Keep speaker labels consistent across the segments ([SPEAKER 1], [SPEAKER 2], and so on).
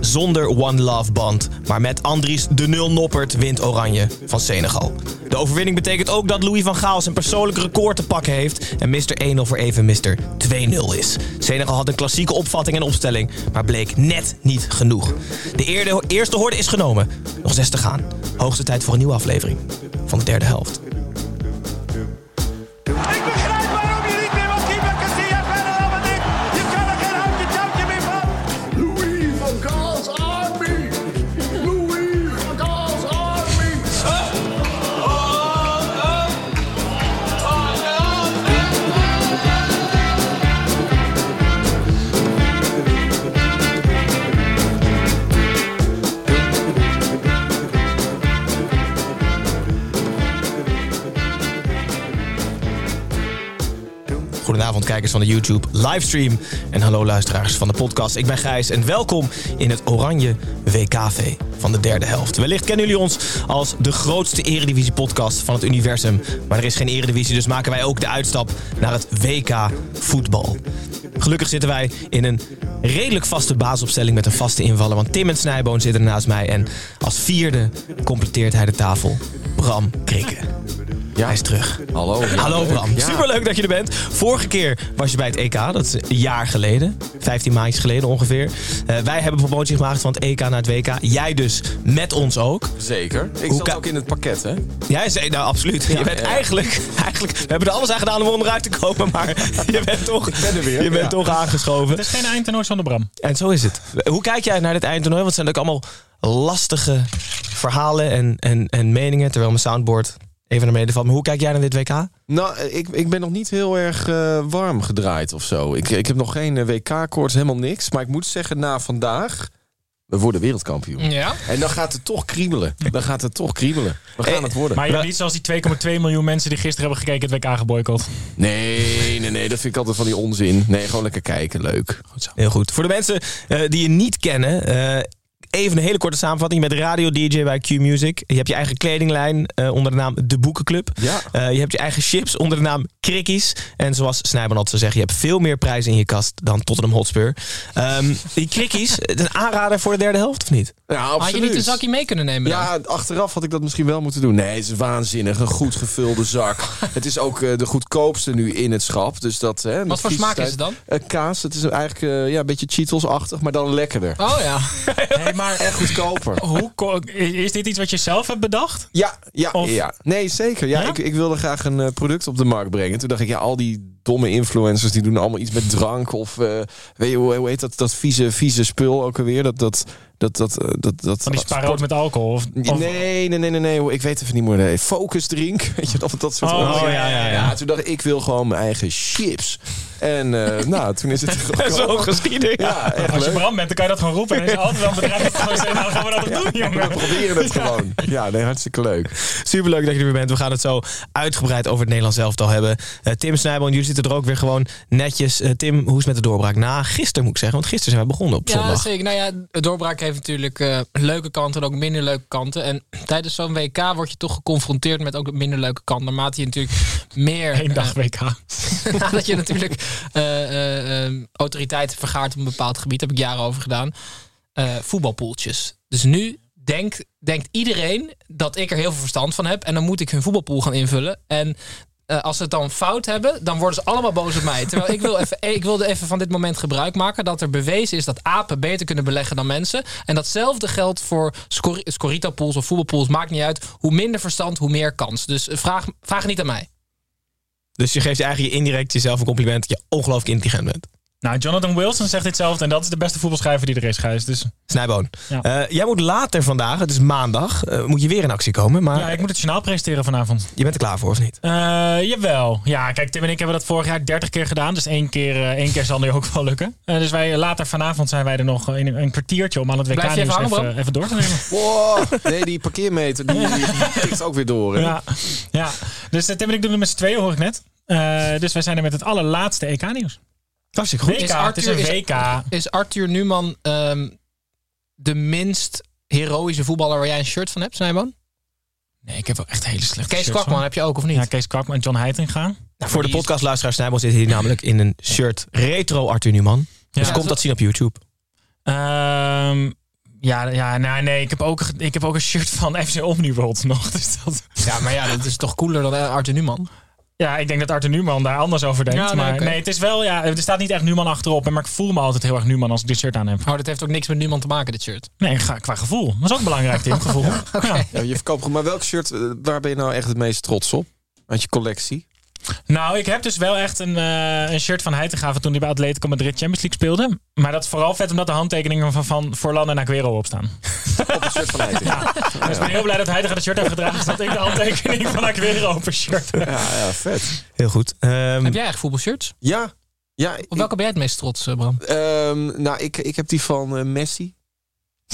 [SPEAKER 1] Zonder One Love Band, maar met Andries de Nul Noppert wint Oranje van Senegal. De overwinning betekent ook dat Louis van Gaal zijn persoonlijk record te pakken heeft en Mr. 1-0 voor even Mr. 2-0 is. Senegal had een klassieke opvatting en opstelling, maar bleek net niet genoeg. De eerde- eerste horde is genomen. Nog zes te gaan. Hoogste tijd voor een nieuwe aflevering van de derde helft.
[SPEAKER 2] Ik begrijp waarom je niet meer wil keeper Castilla verder dan wat ik. Je kan er geen houtje touwtje meer van.
[SPEAKER 3] Louis van Gaal's Army! Louis van Gaal's Army!
[SPEAKER 1] Goedenavond kijkers van de YouTube livestream en hallo luisteraars van de podcast. Ik ben Gijs en welkom in het Oranje WKV van de derde helft. Wellicht kennen jullie ons als de grootste eredivisie podcast van het universum. Maar er is geen eredivisie, dus maken wij ook de uitstap naar het WK voetbal. Gelukkig zitten wij in een redelijk vaste basisopstelling met een vaste invaller. Want Tim en Snijboon zitten naast mij en als vierde completeert hij de tafel. Bram Krikken. Hij is terug.
[SPEAKER 4] Hallo.
[SPEAKER 1] Hallo Bram, superleuk dat je er bent. Vorige keer was je bij het EK, dat is een jaar geleden. 15 maandjes geleden ongeveer. Eh, wij hebben promotie gemaakt van het EK naar het WK. Jij dus, met ons ook.
[SPEAKER 4] Zeker. Ik
[SPEAKER 1] Hoe
[SPEAKER 4] zat
[SPEAKER 1] ka-
[SPEAKER 4] ook in het pakket, hè?
[SPEAKER 1] Jij zei, nou absoluut. je bent
[SPEAKER 4] ja.
[SPEAKER 1] Eigenlijk, eigenlijk, we hebben er alles aan gedaan om onderuit te komen. Maar je bent toch, je bent toch aangeschoven.
[SPEAKER 5] Het is geen eindtoernooi zonder Bram.
[SPEAKER 1] En zo is het. Hoe kijk jij naar dit eindtoernooi? Want het zijn ook allemaal lastige verhalen en, en, en meningen. Terwijl mijn soundboard even naar beneden valt. Maar hoe kijk jij naar dit WK?
[SPEAKER 4] Nou, ik, ik ben nog niet heel erg eh, warm gedraaid of zo. Ik, ik heb nog geen eh, WK-koorts, helemaal niks. Maar ik moet zeggen, na vandaag... We worden wereldkampioen.
[SPEAKER 5] Ja.
[SPEAKER 4] En dan gaat het toch kriebelen. Dan gaat het toch kriebelen. We gaan het worden.
[SPEAKER 5] Eh, Maar je bent niet zoals die 2,2 miljoen mensen die gisteren hebben gekeken het WK geboycott.
[SPEAKER 4] Nee, nee, nee. Dat vind ik altijd van die onzin. Nee, gewoon lekker kijken. Leuk. Goed zo.
[SPEAKER 1] Heel goed. Voor de mensen eh, die je niet kennen, eh, even een hele korte samenvatting. Je bent radio-dj bij Q-Music. Je hebt je eigen kledinglijn eh, onder de naam De Boekenclub.
[SPEAKER 4] Ja.
[SPEAKER 1] Eh, je hebt je eigen chips onder de naam Krikkies. En zoals Snijman altijd zou zeggen, je hebt veel meer prijzen in je kast dan Tottenham Hotspur. Ehm, die Krikkies, het is een aanrader voor de derde helft of niet?
[SPEAKER 4] Ja, absoluut.
[SPEAKER 6] Had je niet een zakje mee kunnen nemen? dan?
[SPEAKER 4] Ja, achteraf had ik dat misschien wel moeten doen. Nee, het is waanzinnig. Een goed gevulde zak. het is ook eh, de goedkoopste nu in het schap. Dus dat, hè, Eh,
[SPEAKER 6] Wat voor smaak is het dan?
[SPEAKER 4] kaas. Het is eigenlijk eh, ja, een beetje Cheetos-achtig, maar dan lekkerder.
[SPEAKER 6] Oh ja.
[SPEAKER 5] Nee, maar
[SPEAKER 4] En goedkoper.
[SPEAKER 5] hoe, ko- is dit iets wat je zelf hebt bedacht?
[SPEAKER 4] Ja, ja,
[SPEAKER 5] Of-
[SPEAKER 4] ja. Nee, zeker. Ja,
[SPEAKER 5] Ja?
[SPEAKER 4] Ik, ik wilde graag een eh, product op de markt brengen. Toen dacht ik, ja, al die domme influencers... die doen allemaal iets met drank of... eh, weet je, hoe, hoe heet dat, dat vieze, vieze spul ook alweer? Dat, dat, dat, dat, eh, dat, dat,
[SPEAKER 5] Van
[SPEAKER 4] sport-
[SPEAKER 5] die sparen ook met alcohol? Of, of-
[SPEAKER 4] Nee, nee, nee, nee, nee. Ik weet even niet meer. Nee. Focus drink. Weet je, dat, dat soort
[SPEAKER 5] Oh,
[SPEAKER 4] onzin.
[SPEAKER 5] ja, ja, ja.
[SPEAKER 4] Toen dacht ik, ik wil gewoon mijn eigen chips. En eh, nou, toen is het gekomen.
[SPEAKER 1] Zo geschieden.
[SPEAKER 4] Ja, echt
[SPEAKER 5] Als je
[SPEAKER 4] leuk.
[SPEAKER 5] Bram bent, dan kan je dat gewoon roepen. En dan is er altijd wel een bedrijf dat gewoon zegt, nou gaan we dat toch doen,
[SPEAKER 4] We
[SPEAKER 5] jongen.
[SPEAKER 4] proberen het gewoon. Ja, nee, hartstikke leuk.
[SPEAKER 1] Superleuk dat je er weer bent. We gaan het zo uitgebreid over het Nederlands elftal hebben. Eh, Tim Snijboon, jullie zitten er ook weer gewoon netjes. Eh, Tim, hoe is het met de doorbraak? Na gisteren moet ik zeggen, want gisteren zijn wij begonnen op
[SPEAKER 6] Ja,
[SPEAKER 1] zondag.
[SPEAKER 6] zeker. Nou ja, de doorbraak heeft natuurlijk eh, leuke kanten en ook minder leuke kanten. En tijdens zo'n WK word je toch geconfronteerd met ook de minder leuke kant. Naarmate je natuurlijk meer...
[SPEAKER 5] Eén dag
[SPEAKER 6] eh,
[SPEAKER 5] WK.
[SPEAKER 6] nadat je natuurlijk eh, eh, eh, autoriteiten vergaart op een bepaald gebied, heb ik jaren over gedaan, eh, voetbalpoeltjes. Dus nu denkt, denkt iedereen dat ik er heel veel verstand van heb en dan moet ik hun voetbalpool gaan invullen. En eh, eh, als ze het dan fout hebben, dan worden ze allemaal boos op mij. Terwijl ik, wil even, ik wilde even van dit moment gebruik maken dat er bewezen is dat apen beter kunnen beleggen dan mensen. En datzelfde geldt voor scor scorita pools of voetbalpools. Maakt niet uit. Hoe minder verstand, hoe meer kans. Dus eh, vraag, vraag niet aan mij.
[SPEAKER 1] Dus je geeft eigenlijk indirect jezelf een compliment dat je ongelooflijk intelligent bent.
[SPEAKER 5] Nou, Jonathan Wilson zegt ditzelfde. En dat is de beste voetbalschrijver die er is, Gijs. Dus
[SPEAKER 1] Snijboon.
[SPEAKER 5] Ja.
[SPEAKER 1] Eh, jij moet later vandaag, het is maandag, eh, moet je weer in actie komen. Maar
[SPEAKER 5] ja, ik moet het journaal presenteren vanavond.
[SPEAKER 1] je bent er klaar voor, of niet?
[SPEAKER 5] Eh, jawel. Ja, kijk, Tim en ik hebben dat vorig jaar 30 keer gedaan. Dus één keer, eh, één keer zal nu ook wel lukken. Eh, dus wij, eh, later vanavond zijn wij er nog eh, in een, een kwartiertje om aan het
[SPEAKER 6] Blijf je even
[SPEAKER 5] WK-nieuws
[SPEAKER 6] hangen,
[SPEAKER 5] even,
[SPEAKER 6] Bram?
[SPEAKER 5] even door te nemen.
[SPEAKER 4] Wow, nee, die parkeermeter die, die tikt ook weer door. hè.
[SPEAKER 5] Ja, ja. dus eh, Tim en ik doen het met z'n tweeën, hoor ik net. Eh, dus wij zijn er met het allerlaatste EK-nieuws.
[SPEAKER 1] Hartstikke
[SPEAKER 5] WK,
[SPEAKER 1] goed.
[SPEAKER 6] Is
[SPEAKER 5] het is een
[SPEAKER 6] Arthur-
[SPEAKER 5] WK.
[SPEAKER 6] Is Arthur Numan ehm, de minst heroïsche voetballer waar jij een shirt van hebt, Snijboon?
[SPEAKER 5] Nee, ik heb wel echt hele slechte
[SPEAKER 6] Kees
[SPEAKER 5] shirts
[SPEAKER 6] Kwakman
[SPEAKER 5] hoor.
[SPEAKER 6] heb je ook, of niet?
[SPEAKER 5] Ja, Kees Kwakman en John Heiting gaan.
[SPEAKER 1] Nou, voor de
[SPEAKER 6] die is-
[SPEAKER 1] podcastluisteraar Snijboon zit hier namelijk in een shirt retro Arthur Newman. Dus
[SPEAKER 6] Ja.
[SPEAKER 1] komt dat zien op YouTube.
[SPEAKER 5] Ehm, ja, ja nou, nee, ik heb, ook, ik heb ook een shirt van FC Omniworld nog. Dus dat,
[SPEAKER 6] Ja, maar ja, dat is toch cooler dan eh, Arthur Numan?
[SPEAKER 5] ja, ik denk dat Arthur Numan daar anders over denkt.
[SPEAKER 6] Ja, nee,
[SPEAKER 5] maar
[SPEAKER 6] oké.
[SPEAKER 5] nee, het is wel, ja, er staat niet echt Numan achterop. Maar ik voel me altijd heel erg Numan als ik dit shirt aan heb.
[SPEAKER 6] Oh, dat heeft ook niks met Numan te maken, dit shirt.
[SPEAKER 5] Nee, ga- qua gevoel. Dat is ook belangrijk, Tim, gevoel. Ja.
[SPEAKER 4] Ja, je verkoopt goed. Maar welk shirt, eh, waar ben je nou echt het meest trots op? Uit je collectie?
[SPEAKER 5] Nou, ik heb dus wel echt een, eh, een shirt van Heitingaven toen hij bij Atletico Madrid Champions League speelde. Maar dat is vooral vet omdat de handtekeningen van, van Forlan en Aguero op staan.
[SPEAKER 4] Op een shirt van Heiting. Ja,
[SPEAKER 5] Dus ik ben heel blij dat Heitinga dat shirt heeft gedragen, zodat ik de handtekening van Aguero op een shirt heb.
[SPEAKER 4] ja, vet.
[SPEAKER 1] Heel goed. Ehm,
[SPEAKER 6] Heb jij echt voetbalshirts?
[SPEAKER 4] Ja, ja.
[SPEAKER 6] Op welke ben jij het meest trots, eh, Bram?
[SPEAKER 4] ik- ehm, nou, ik, ik heb die van eh, Messi.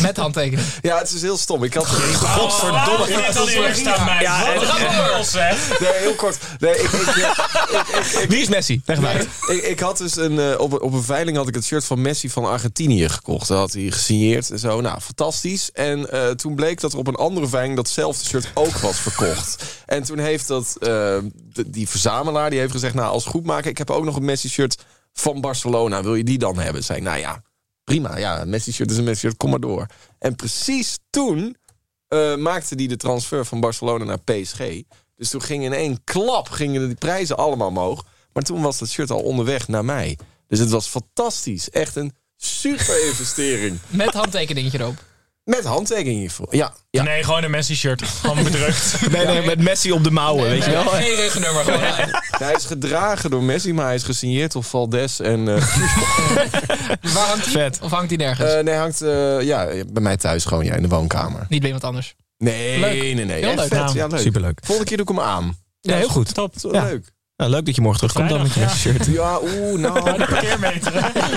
[SPEAKER 6] Met handtekening.
[SPEAKER 4] Ja, het is heel stom. Ik had...
[SPEAKER 5] Oh, Godverdomme. Oh, dit al die eerst aan mij.
[SPEAKER 1] Ja,
[SPEAKER 5] Wat
[SPEAKER 1] en-
[SPEAKER 5] een lul, zeg.
[SPEAKER 4] Nee, heel kort. Nee, ik, ik,
[SPEAKER 1] Wie is Messi? Leg hem uit.
[SPEAKER 4] ik, ik had dus een, eh, op, een- op een veiling had ik het shirt van Messi van Argentinië gekocht. Dat had hij gesigneerd en zo. Nou, fantastisch. En eh, toen bleek dat er op een andere veiling datzelfde shirt ook was verkocht. En toen heeft dat, eh, de- die verzamelaar die heeft gezegd... nou, als goed maken, ik heb ook nog een Messi-shirt van Barcelona. Wil je die dan hebben? Zei ik, nou ja, prima. Ja, een Messi-shirt is een Messi-shirt, kom maar door. En precies toen eh, maakte die de transfer van Barcelona naar PSG. Dus toen gingen in één klap gingen die prijzen allemaal omhoog. Maar toen was dat shirt al onderweg naar mij. Dus het was fantastisch. Echt een super investering.
[SPEAKER 6] Met handtekening erop.
[SPEAKER 4] Met handtekening hiervoor. Ja, ja.
[SPEAKER 5] Nee, gewoon een Messi-shirt. Gewoon bedrukt.
[SPEAKER 1] Nee, nee, met Messi op de mouwen, weet je wel.
[SPEAKER 6] Geen regenummer gewoon.
[SPEAKER 4] Hij is gedragen door Messi, maar hij is gesigneerd door Valdes. En, eh,
[SPEAKER 6] Waar hangt die?
[SPEAKER 1] Vet.
[SPEAKER 6] Of hangt die nergens?
[SPEAKER 4] eh, nee, hangt eh, ja, bij mij thuis gewoon ja, in de woonkamer.
[SPEAKER 6] Niet bij iemand anders.
[SPEAKER 4] Nee,
[SPEAKER 6] Leuk.
[SPEAKER 4] nee, nee.
[SPEAKER 6] Heel
[SPEAKER 4] Echt
[SPEAKER 6] leuk.
[SPEAKER 4] vet.
[SPEAKER 5] Nou,
[SPEAKER 4] Ja, leuk.
[SPEAKER 1] Superleuk.
[SPEAKER 4] Volgende keer doe ik hem aan.
[SPEAKER 1] Ja, heel goed.
[SPEAKER 5] Top.
[SPEAKER 4] Dat is wel
[SPEAKER 1] Ja.
[SPEAKER 4] leuk.
[SPEAKER 1] Nou, leuk dat je morgen terugkomt dan met je
[SPEAKER 5] Vrijdag,
[SPEAKER 1] Messi-shirt.
[SPEAKER 4] Ja, oeh, nou,
[SPEAKER 5] Parkeermeter.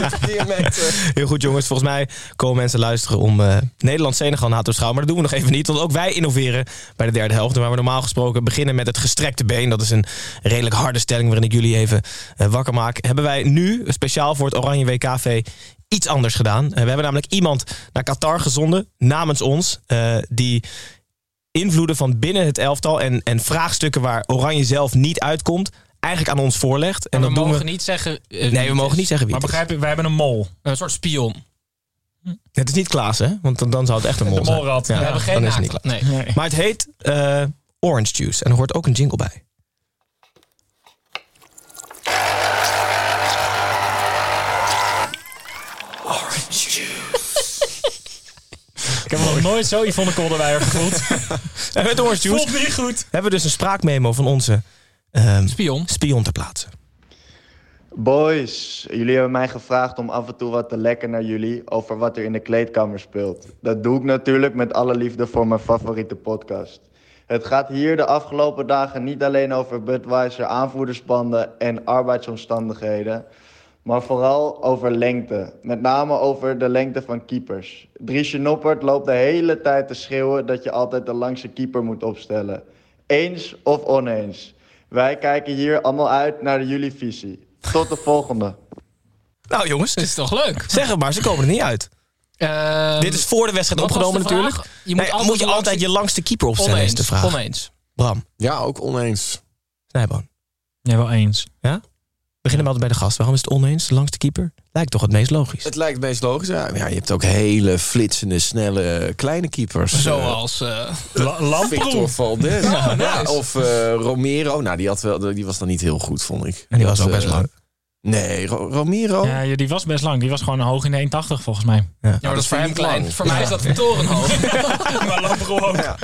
[SPEAKER 4] verkeer met... eh,
[SPEAKER 1] Heel goed, jongens. Volgens mij komen mensen luisteren om eh, Nederland-Senegal na te schouwen. Maar dat doen we nog even niet, want ook wij innoveren bij de derde helft. Waar we normaal gesproken beginnen met het gestrekte been. Dat is een redelijk harde stelling waarin ik jullie even eh, wakker maak. Hebben wij nu, speciaal voor het Oranje WKV, iets anders gedaan. Eh, we hebben namelijk iemand naar Qatar gezonden, namens ons, eh, die invloeden van binnen het elftal en, en vraagstukken waar Oranje zelf niet uitkomt, eigenlijk aan ons voorlegt. En
[SPEAKER 6] En we
[SPEAKER 1] dat doen
[SPEAKER 6] mogen
[SPEAKER 1] we...
[SPEAKER 6] niet zeggen... eh, wie
[SPEAKER 1] Nee, we
[SPEAKER 6] het
[SPEAKER 1] mogen
[SPEAKER 6] is.
[SPEAKER 1] niet zeggen wie
[SPEAKER 5] Maar
[SPEAKER 1] het is.
[SPEAKER 5] begrijp je, wij hebben een mol.
[SPEAKER 6] Een soort spion.
[SPEAKER 1] Het is niet Klaas, hè? Want dan, dan zou het echt een mol
[SPEAKER 5] De
[SPEAKER 1] zijn.
[SPEAKER 5] molrad.
[SPEAKER 1] Ja,
[SPEAKER 5] We
[SPEAKER 6] we hebben
[SPEAKER 1] dan
[SPEAKER 6] geen
[SPEAKER 1] is het niet
[SPEAKER 6] naakt.
[SPEAKER 1] Klaas.
[SPEAKER 6] Nee.
[SPEAKER 5] Nee.
[SPEAKER 1] Maar het heet eh, Orange Juice. En er hoort ook een jingle bij.
[SPEAKER 5] Ik heb me nog nooit zo Yvonne Kolderweijer gevoeld.
[SPEAKER 1] En met Orange Juice
[SPEAKER 5] Voelt niet goed.
[SPEAKER 1] hebben we dus een spraakmemo van onze ehm,
[SPEAKER 6] Spion.
[SPEAKER 1] spion ter plaatse.
[SPEAKER 7] Boys, jullie hebben mij gevraagd om af en toe wat te lekken naar jullie over wat er in de kleedkamer speelt. Dat doe ik natuurlijk met alle liefde voor mijn favoriete podcast. Het gaat hier de afgelopen dagen niet alleen over Budweiser, aanvoerdersbanden en arbeidsomstandigheden, maar vooral over lengte. Met name over de lengte van keepers. Driesje Noppert loopt de hele tijd te schreeuwen dat je altijd de langste keeper moet opstellen. Eens of oneens. Wij kijken hier allemaal uit naar jullie visie. Tot de volgende.
[SPEAKER 1] Nou jongens,
[SPEAKER 6] Dat is toch leuk?
[SPEAKER 1] zeg het maar. Ze komen er niet uit.
[SPEAKER 6] Ehm,
[SPEAKER 1] Dit is voor de wedstrijd
[SPEAKER 6] wat was
[SPEAKER 1] opgenomen
[SPEAKER 6] de vraag?
[SPEAKER 1] natuurlijk.
[SPEAKER 6] Je moet
[SPEAKER 1] Nee,
[SPEAKER 6] altijd
[SPEAKER 1] moet je
[SPEAKER 6] de
[SPEAKER 1] altijd
[SPEAKER 6] langste-
[SPEAKER 1] je langste keeper opstellen is de
[SPEAKER 6] Oneens.
[SPEAKER 1] vraag.
[SPEAKER 6] Oneens.
[SPEAKER 1] Bram,
[SPEAKER 4] Ja, ook oneens.
[SPEAKER 1] Snijboon.
[SPEAKER 5] Ja, wel eens.
[SPEAKER 1] Ja? beginnen we altijd bij de gast. Waarom is het oneens langs de keeper? Lijkt toch het meest logisch.
[SPEAKER 4] Het lijkt het meest logisch. Ja, Maar ja, je hebt ook hele flitsende, snelle, eh, kleine keepers.
[SPEAKER 6] Zoals... eh,
[SPEAKER 5] La-
[SPEAKER 4] Eh,
[SPEAKER 5] Lamproe.
[SPEAKER 4] Victor Valdes. Ja,
[SPEAKER 6] nice.
[SPEAKER 4] Of eh, Romero. Nou, die, had wel, die was dan niet heel goed, vond ik.
[SPEAKER 1] En die was
[SPEAKER 4] Dat,
[SPEAKER 1] ook best
[SPEAKER 4] eh,
[SPEAKER 1] lang.
[SPEAKER 4] Nee, Ro- Romero.
[SPEAKER 5] Ja, ja, die was best lang. Die was gewoon hoog in de 1,80 volgens mij.
[SPEAKER 6] ja, maar dat is voor
[SPEAKER 4] vind
[SPEAKER 6] hem
[SPEAKER 4] ik
[SPEAKER 6] klein.
[SPEAKER 4] lang.
[SPEAKER 6] Voor mij is dat een torenhoog.
[SPEAKER 5] maar Lamproe ook.
[SPEAKER 4] Ja.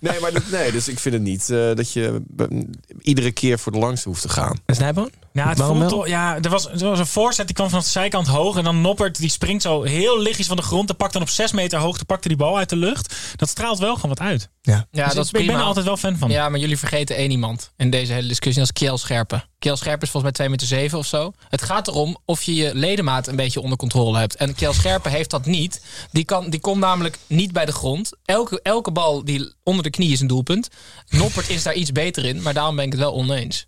[SPEAKER 4] Nee, maar dat- nee, dus ik vind het niet eh, dat je be- iedere keer voor de langste hoeft te gaan.
[SPEAKER 1] En Snijboon?
[SPEAKER 5] Ja, het
[SPEAKER 1] Waarom
[SPEAKER 5] voelt
[SPEAKER 1] wel?
[SPEAKER 5] toch- ja er, was, er was een voorzet die kwam vanaf de zijkant hoog. En dan Noppert, die springt zo heel lichtjes van de grond. En pakt dan op 6 meter hoogte pakte die bal uit de lucht. Dat straalt wel gewoon wat uit.
[SPEAKER 6] Ja,
[SPEAKER 5] Dus
[SPEAKER 6] dat is
[SPEAKER 5] ik, ik ben er
[SPEAKER 6] prima.
[SPEAKER 5] altijd wel fan van.
[SPEAKER 6] Ja, maar jullie vergeten één iemand in deze hele discussie. Dat is Kiel Scherpen. Kiel Scherpen is volgens mij 2,7 meter zeven of zo. Het gaat erom of je je ledemaat een beetje onder controle hebt. En Kiel Scherpen heeft dat niet. Die, kan, die komt namelijk niet bij de grond. Elke, elke bal die onder de knie is een doelpunt. Noppert is daar iets beter in, maar daarom ben ik het wel oneens.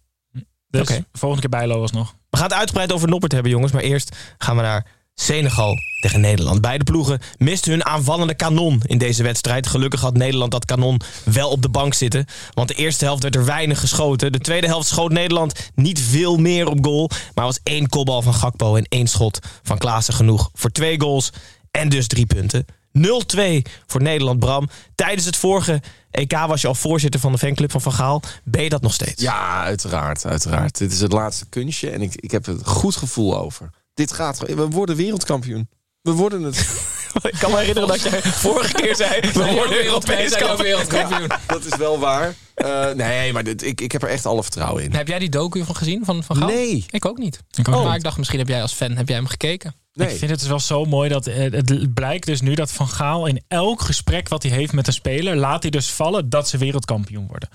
[SPEAKER 5] Dus
[SPEAKER 1] Oké.
[SPEAKER 5] volgende keer bijlo alsnog.
[SPEAKER 1] We gaan het uitgebreid over Noppert hebben, jongens. Maar eerst gaan we naar Senegal tegen Nederland. Beide ploegen misten hun aanvallende kanon in deze wedstrijd. Gelukkig had Nederland dat kanon wel op de bank zitten. Want de eerste helft werd er weinig geschoten. De tweede helft schoot Nederland niet veel meer op goal. Maar was één kopbal van Gakpo en één schot van Klaassen genoeg voor twee goals. En dus drie punten. 0-2 voor Nederland, Bram. Tijdens het vorige EK was je al voorzitter van de fanclub van Van Gaal. Ben je dat nog steeds?
[SPEAKER 4] Ja, uiteraard, uiteraard. Dit is het laatste kunstje en ik, ik heb een goed gevoel over. Dit gaat, we worden wereldkampioen. We worden het.
[SPEAKER 1] Ik kan me herinneren dat jij vorige keer zei... We worden Europees
[SPEAKER 6] zijn ook
[SPEAKER 1] kampioen.
[SPEAKER 6] wereldkampioen.
[SPEAKER 4] Dat is wel waar. Eh, nee, maar dit, ik, ik heb er echt alle vertrouwen in.
[SPEAKER 6] Heb jij die docu van gezien van, van Gaal?
[SPEAKER 4] Nee.
[SPEAKER 6] Ik ook niet.
[SPEAKER 5] Ik ook
[SPEAKER 6] Maar
[SPEAKER 5] niet.
[SPEAKER 6] ik dacht, misschien heb jij als fan heb jij hem gekeken.
[SPEAKER 4] Nee.
[SPEAKER 5] Ik vind het dus wel zo mooi dat eh, het blijkt dus nu dat Van Gaal in elk gesprek wat hij heeft met een speler, laat hij dus vallen dat ze wereldkampioen worden.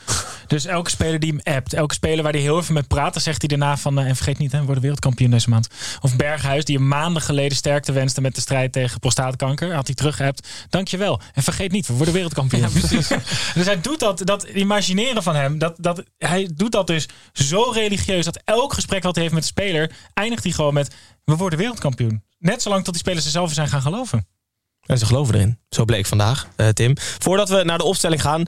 [SPEAKER 5] dus elke speler die hem appt, elke speler waar hij heel even mee praat, dan zegt hij daarna van, eh, en vergeet niet, hè, we worden wereldkampioen deze maand. Of Berghuis, die een maanden geleden sterkte wenste met de strijd tegen prostaatkanker, had hij teruggeappt, dankjewel. En vergeet niet, we worden wereldkampioen. precies. dus hij doet dat, dat imagineren van hem, dat, dat, hij doet dat dus zo religieus, dat elk gesprek wat hij heeft met de speler, eindigt hij gewoon met, we worden wereldkampioen. Net zolang tot die spelers er zelf in zijn gaan geloven.
[SPEAKER 1] En ze geloven erin. Zo bleek vandaag, eh, Tim. Voordat we naar de opstelling gaan...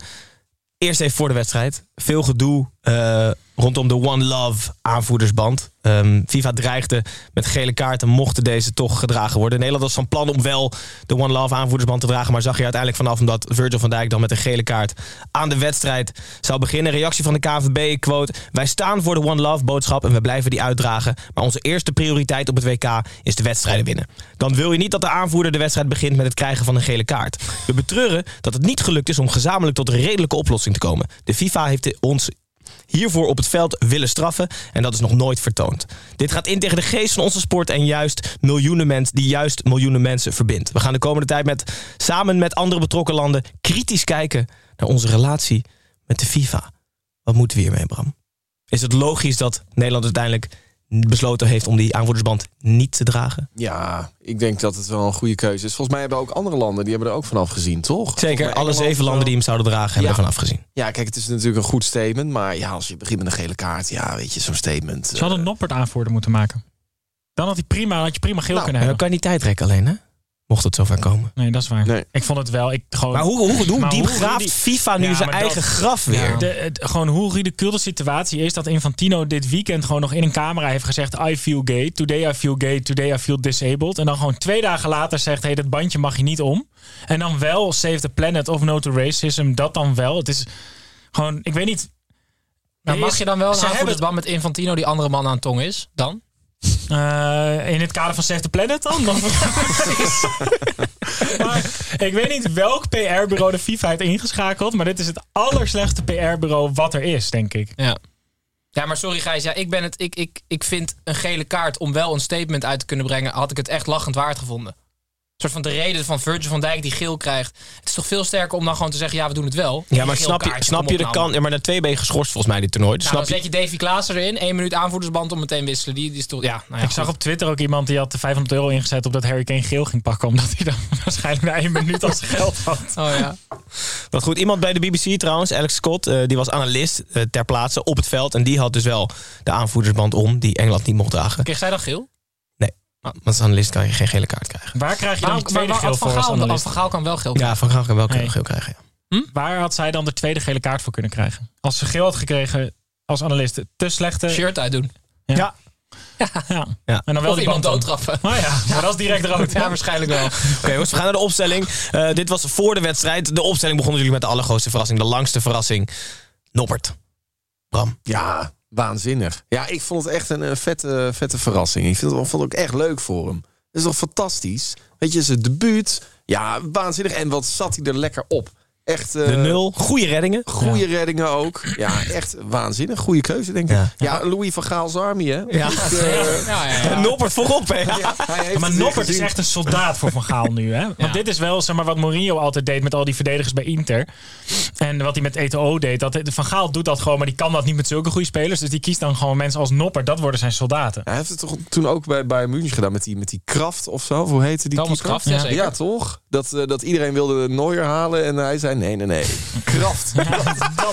[SPEAKER 1] Eerst even voor de wedstrijd. Veel gedoe eh, rondom de One Love aanvoerdersband. Ehm, FIFA dreigde met gele kaarten mochten deze toch gedragen worden. Nederland was van plan om wel de One Love aanvoerdersband te dragen... maar zag je uiteindelijk vanaf omdat Virgil van Dijk dan met een gele kaart... aan de wedstrijd zou beginnen. Reactie van de KNVB, quote... Wij staan voor de One Love boodschap en we blijven die uitdragen... maar onze eerste prioriteit op het WK is de wedstrijden winnen. Dan wil je niet dat de aanvoerder de wedstrijd begint... met het krijgen van een gele kaart. We betreuren dat het niet gelukt is om gezamenlijk tot een redelijke oplossing te komen. De FIFA heeft ons hiervoor op het veld willen straffen en dat is nog nooit vertoond. Dit gaat in tegen de geest van onze sport en juist miljoenen mensen die juist miljoenen mensen verbindt. We gaan de komende tijd met, samen met andere betrokken landen kritisch kijken naar onze relatie met de FIFA. Wat moeten we hiermee, Bram? Is het logisch dat Nederland uiteindelijk besloten heeft om die aanvoerdersband niet te dragen?
[SPEAKER 4] Ja, ik denk dat het wel een goede keuze is. Volgens mij hebben ook andere landen, die hebben er ook vanaf gezien, toch?
[SPEAKER 1] Zeker, alle zeven landen die hem zouden dragen hebben
[SPEAKER 4] Ja.
[SPEAKER 1] ervan afgezien.
[SPEAKER 4] Ja, kijk, het is natuurlijk een goed statement. Maar ja, als je begint met een gele kaart, ja, weet je, zo'n statement. eh,
[SPEAKER 5] Ze hadden Noppert aanvoerder moeten maken. Dan had, hij prima, had je prima geel kunnen
[SPEAKER 1] En dan
[SPEAKER 5] hebben.
[SPEAKER 1] kan je niet tijdrekken alleen, hè? Mocht het zover komen.
[SPEAKER 5] Nee, dat is waar.
[SPEAKER 4] Nee.
[SPEAKER 5] Ik vond het wel. Ik, gewoon,
[SPEAKER 1] Maar hoe, hoe, hoe
[SPEAKER 5] Maar
[SPEAKER 1] diep
[SPEAKER 5] hoe
[SPEAKER 1] graaft
[SPEAKER 5] die-
[SPEAKER 1] FIFA nu
[SPEAKER 5] Ja,
[SPEAKER 1] zijn
[SPEAKER 5] maar
[SPEAKER 1] eigen
[SPEAKER 5] dat-
[SPEAKER 1] graf weer?
[SPEAKER 6] Ja.
[SPEAKER 5] de, Eh, het- gewoon hoe ridicuul de situatie is dat Infantino dit weekend gewoon nog in een camera heeft gezegd: I feel gay, today I feel gay, today I feel disabled. En dan gewoon twee dagen later zegt: hey, dat bandje mag je niet om. En dan wel Save the Planet of No to Racism, dat dan wel. Het is gewoon, ik weet niet.
[SPEAKER 6] Maar Nou, mag je dan wel
[SPEAKER 5] Ze
[SPEAKER 6] een
[SPEAKER 5] hebben het-
[SPEAKER 6] aanvoerdersband met Infantino die andere man aan de tong is? Dan?
[SPEAKER 5] Eh, in het kader van Save the Planet dan? dan maar ik weet niet welk PR-bureau de FIFA heeft ingeschakeld. Maar dit is het allerslechtste PR-bureau wat er is, denk ik.
[SPEAKER 6] Ja. Ja, maar sorry Gijs, ja, ik, ben het, ik, ik, ik vind een gele kaart om wel een statement uit te kunnen brengen, had ik het echt lachend waard gevonden. Een soort van de reden van Virgil van Dijk die geel krijgt. Het is toch veel sterker om dan gewoon te zeggen, ja, we doen het wel.
[SPEAKER 1] Ja, maar
[SPEAKER 6] Geel
[SPEAKER 1] snap je,
[SPEAKER 6] kaartje,
[SPEAKER 1] snap
[SPEAKER 6] kom
[SPEAKER 1] je
[SPEAKER 6] op
[SPEAKER 1] de
[SPEAKER 6] nou.
[SPEAKER 1] kant? Ja, maar na twee ben je geschorst volgens mij dit toernooi. Dus
[SPEAKER 6] Nou, dan
[SPEAKER 1] snap
[SPEAKER 6] zet je Davy Klaas erin, één minuut aanvoerdersband om meteen wisselen. Die, die is toch, ja, nou ja,
[SPEAKER 5] ik zag
[SPEAKER 6] goed.
[SPEAKER 5] op Twitter ook iemand die had de 500 euro ingezet op dat Harry Kane geel ging pakken. Omdat hij dan waarschijnlijk na één minuut als geld had.
[SPEAKER 6] Oh ja.
[SPEAKER 1] je... Wat goed, iemand bij de BBC trouwens, Alex Scott, eh, die was analist eh, ter plaatse op het veld. En die had dus wel de aanvoerdersband om, die Engeland niet mocht dragen.
[SPEAKER 6] Kreeg zij dan geel?
[SPEAKER 5] Ah.
[SPEAKER 1] Want als analist kan je geen gele kaart krijgen.
[SPEAKER 5] Waar krijg je dan
[SPEAKER 6] Maar,
[SPEAKER 5] de
[SPEAKER 6] maar,
[SPEAKER 5] tweede
[SPEAKER 6] maar
[SPEAKER 5] geel
[SPEAKER 6] had
[SPEAKER 5] voor
[SPEAKER 6] van,
[SPEAKER 5] als
[SPEAKER 6] Gaal, had
[SPEAKER 5] analist?
[SPEAKER 6] van Gaal kan wel geel.
[SPEAKER 1] Ja, Van Gaal kan wel
[SPEAKER 5] Nee.
[SPEAKER 1] geel krijgen. ja.
[SPEAKER 5] Waar had zij dan de tweede gele kaart voor kunnen krijgen? Als ze geel had gekregen als analist, te slechte...
[SPEAKER 6] Shirt uitdoen.
[SPEAKER 5] Ja.
[SPEAKER 1] Ja.
[SPEAKER 5] Ja. En dan wel
[SPEAKER 6] Of
[SPEAKER 5] die
[SPEAKER 6] iemand
[SPEAKER 5] band om.
[SPEAKER 6] doodtrappen.
[SPEAKER 5] Maar ja, maar dat is direct rood.
[SPEAKER 6] Ja, waarschijnlijk wel.
[SPEAKER 1] Oké, jongens, we gaan naar de opstelling. Eh, dit was voor de wedstrijd. De opstelling begonnen jullie met de allergrootste verrassing, de langste verrassing. Noppert. Bram.
[SPEAKER 4] Ja, waanzinnig. Ja, ik vond het echt een, eh, vette, vette verrassing. Ik vind het, vond het ook echt leuk voor hem. Dat is toch fantastisch? Weet je, zijn debuut. Ja, waanzinnig. En wat zat hij er lekker op. Echt eh,
[SPEAKER 1] De nul. Goede reddingen.
[SPEAKER 4] goede reddingen ook. Ja, echt waanzinnig. Goede keuze, denk ik.
[SPEAKER 1] Ja.
[SPEAKER 4] Ja, Louis van Gaal's Army, hè? eh,
[SPEAKER 1] Ja.
[SPEAKER 6] Ja, ja,
[SPEAKER 1] En
[SPEAKER 6] ja.
[SPEAKER 1] Noppert voorop, hè?
[SPEAKER 4] Hij heeft
[SPEAKER 5] Ja, maar
[SPEAKER 4] het weer
[SPEAKER 5] Noppert is
[SPEAKER 4] gezien.
[SPEAKER 5] echt een soldaat voor Van Gaal nu. Hè? Want
[SPEAKER 6] Ja.
[SPEAKER 5] dit is wel zeg maar, wat Mourinho altijd deed met al die verdedigers bij Inter. En wat hij met Eto'o deed. Dat, Van Gaal doet dat gewoon, maar die kan dat niet met zulke goede spelers. Dus die kiest dan gewoon mensen als Noppert. Dat worden zijn soldaten.
[SPEAKER 4] Hij heeft het toch toen ook bij, bij München gedaan met die, met die Kraft of zo? Hoe heette die
[SPEAKER 6] Thomas
[SPEAKER 4] keeper?
[SPEAKER 6] Kraft, ja,
[SPEAKER 4] ja,
[SPEAKER 6] zeker.
[SPEAKER 4] toch? Dat, eh, dat iedereen wilde Neuer halen en hij zei nee, nee, nee. Kraft.
[SPEAKER 5] Dat,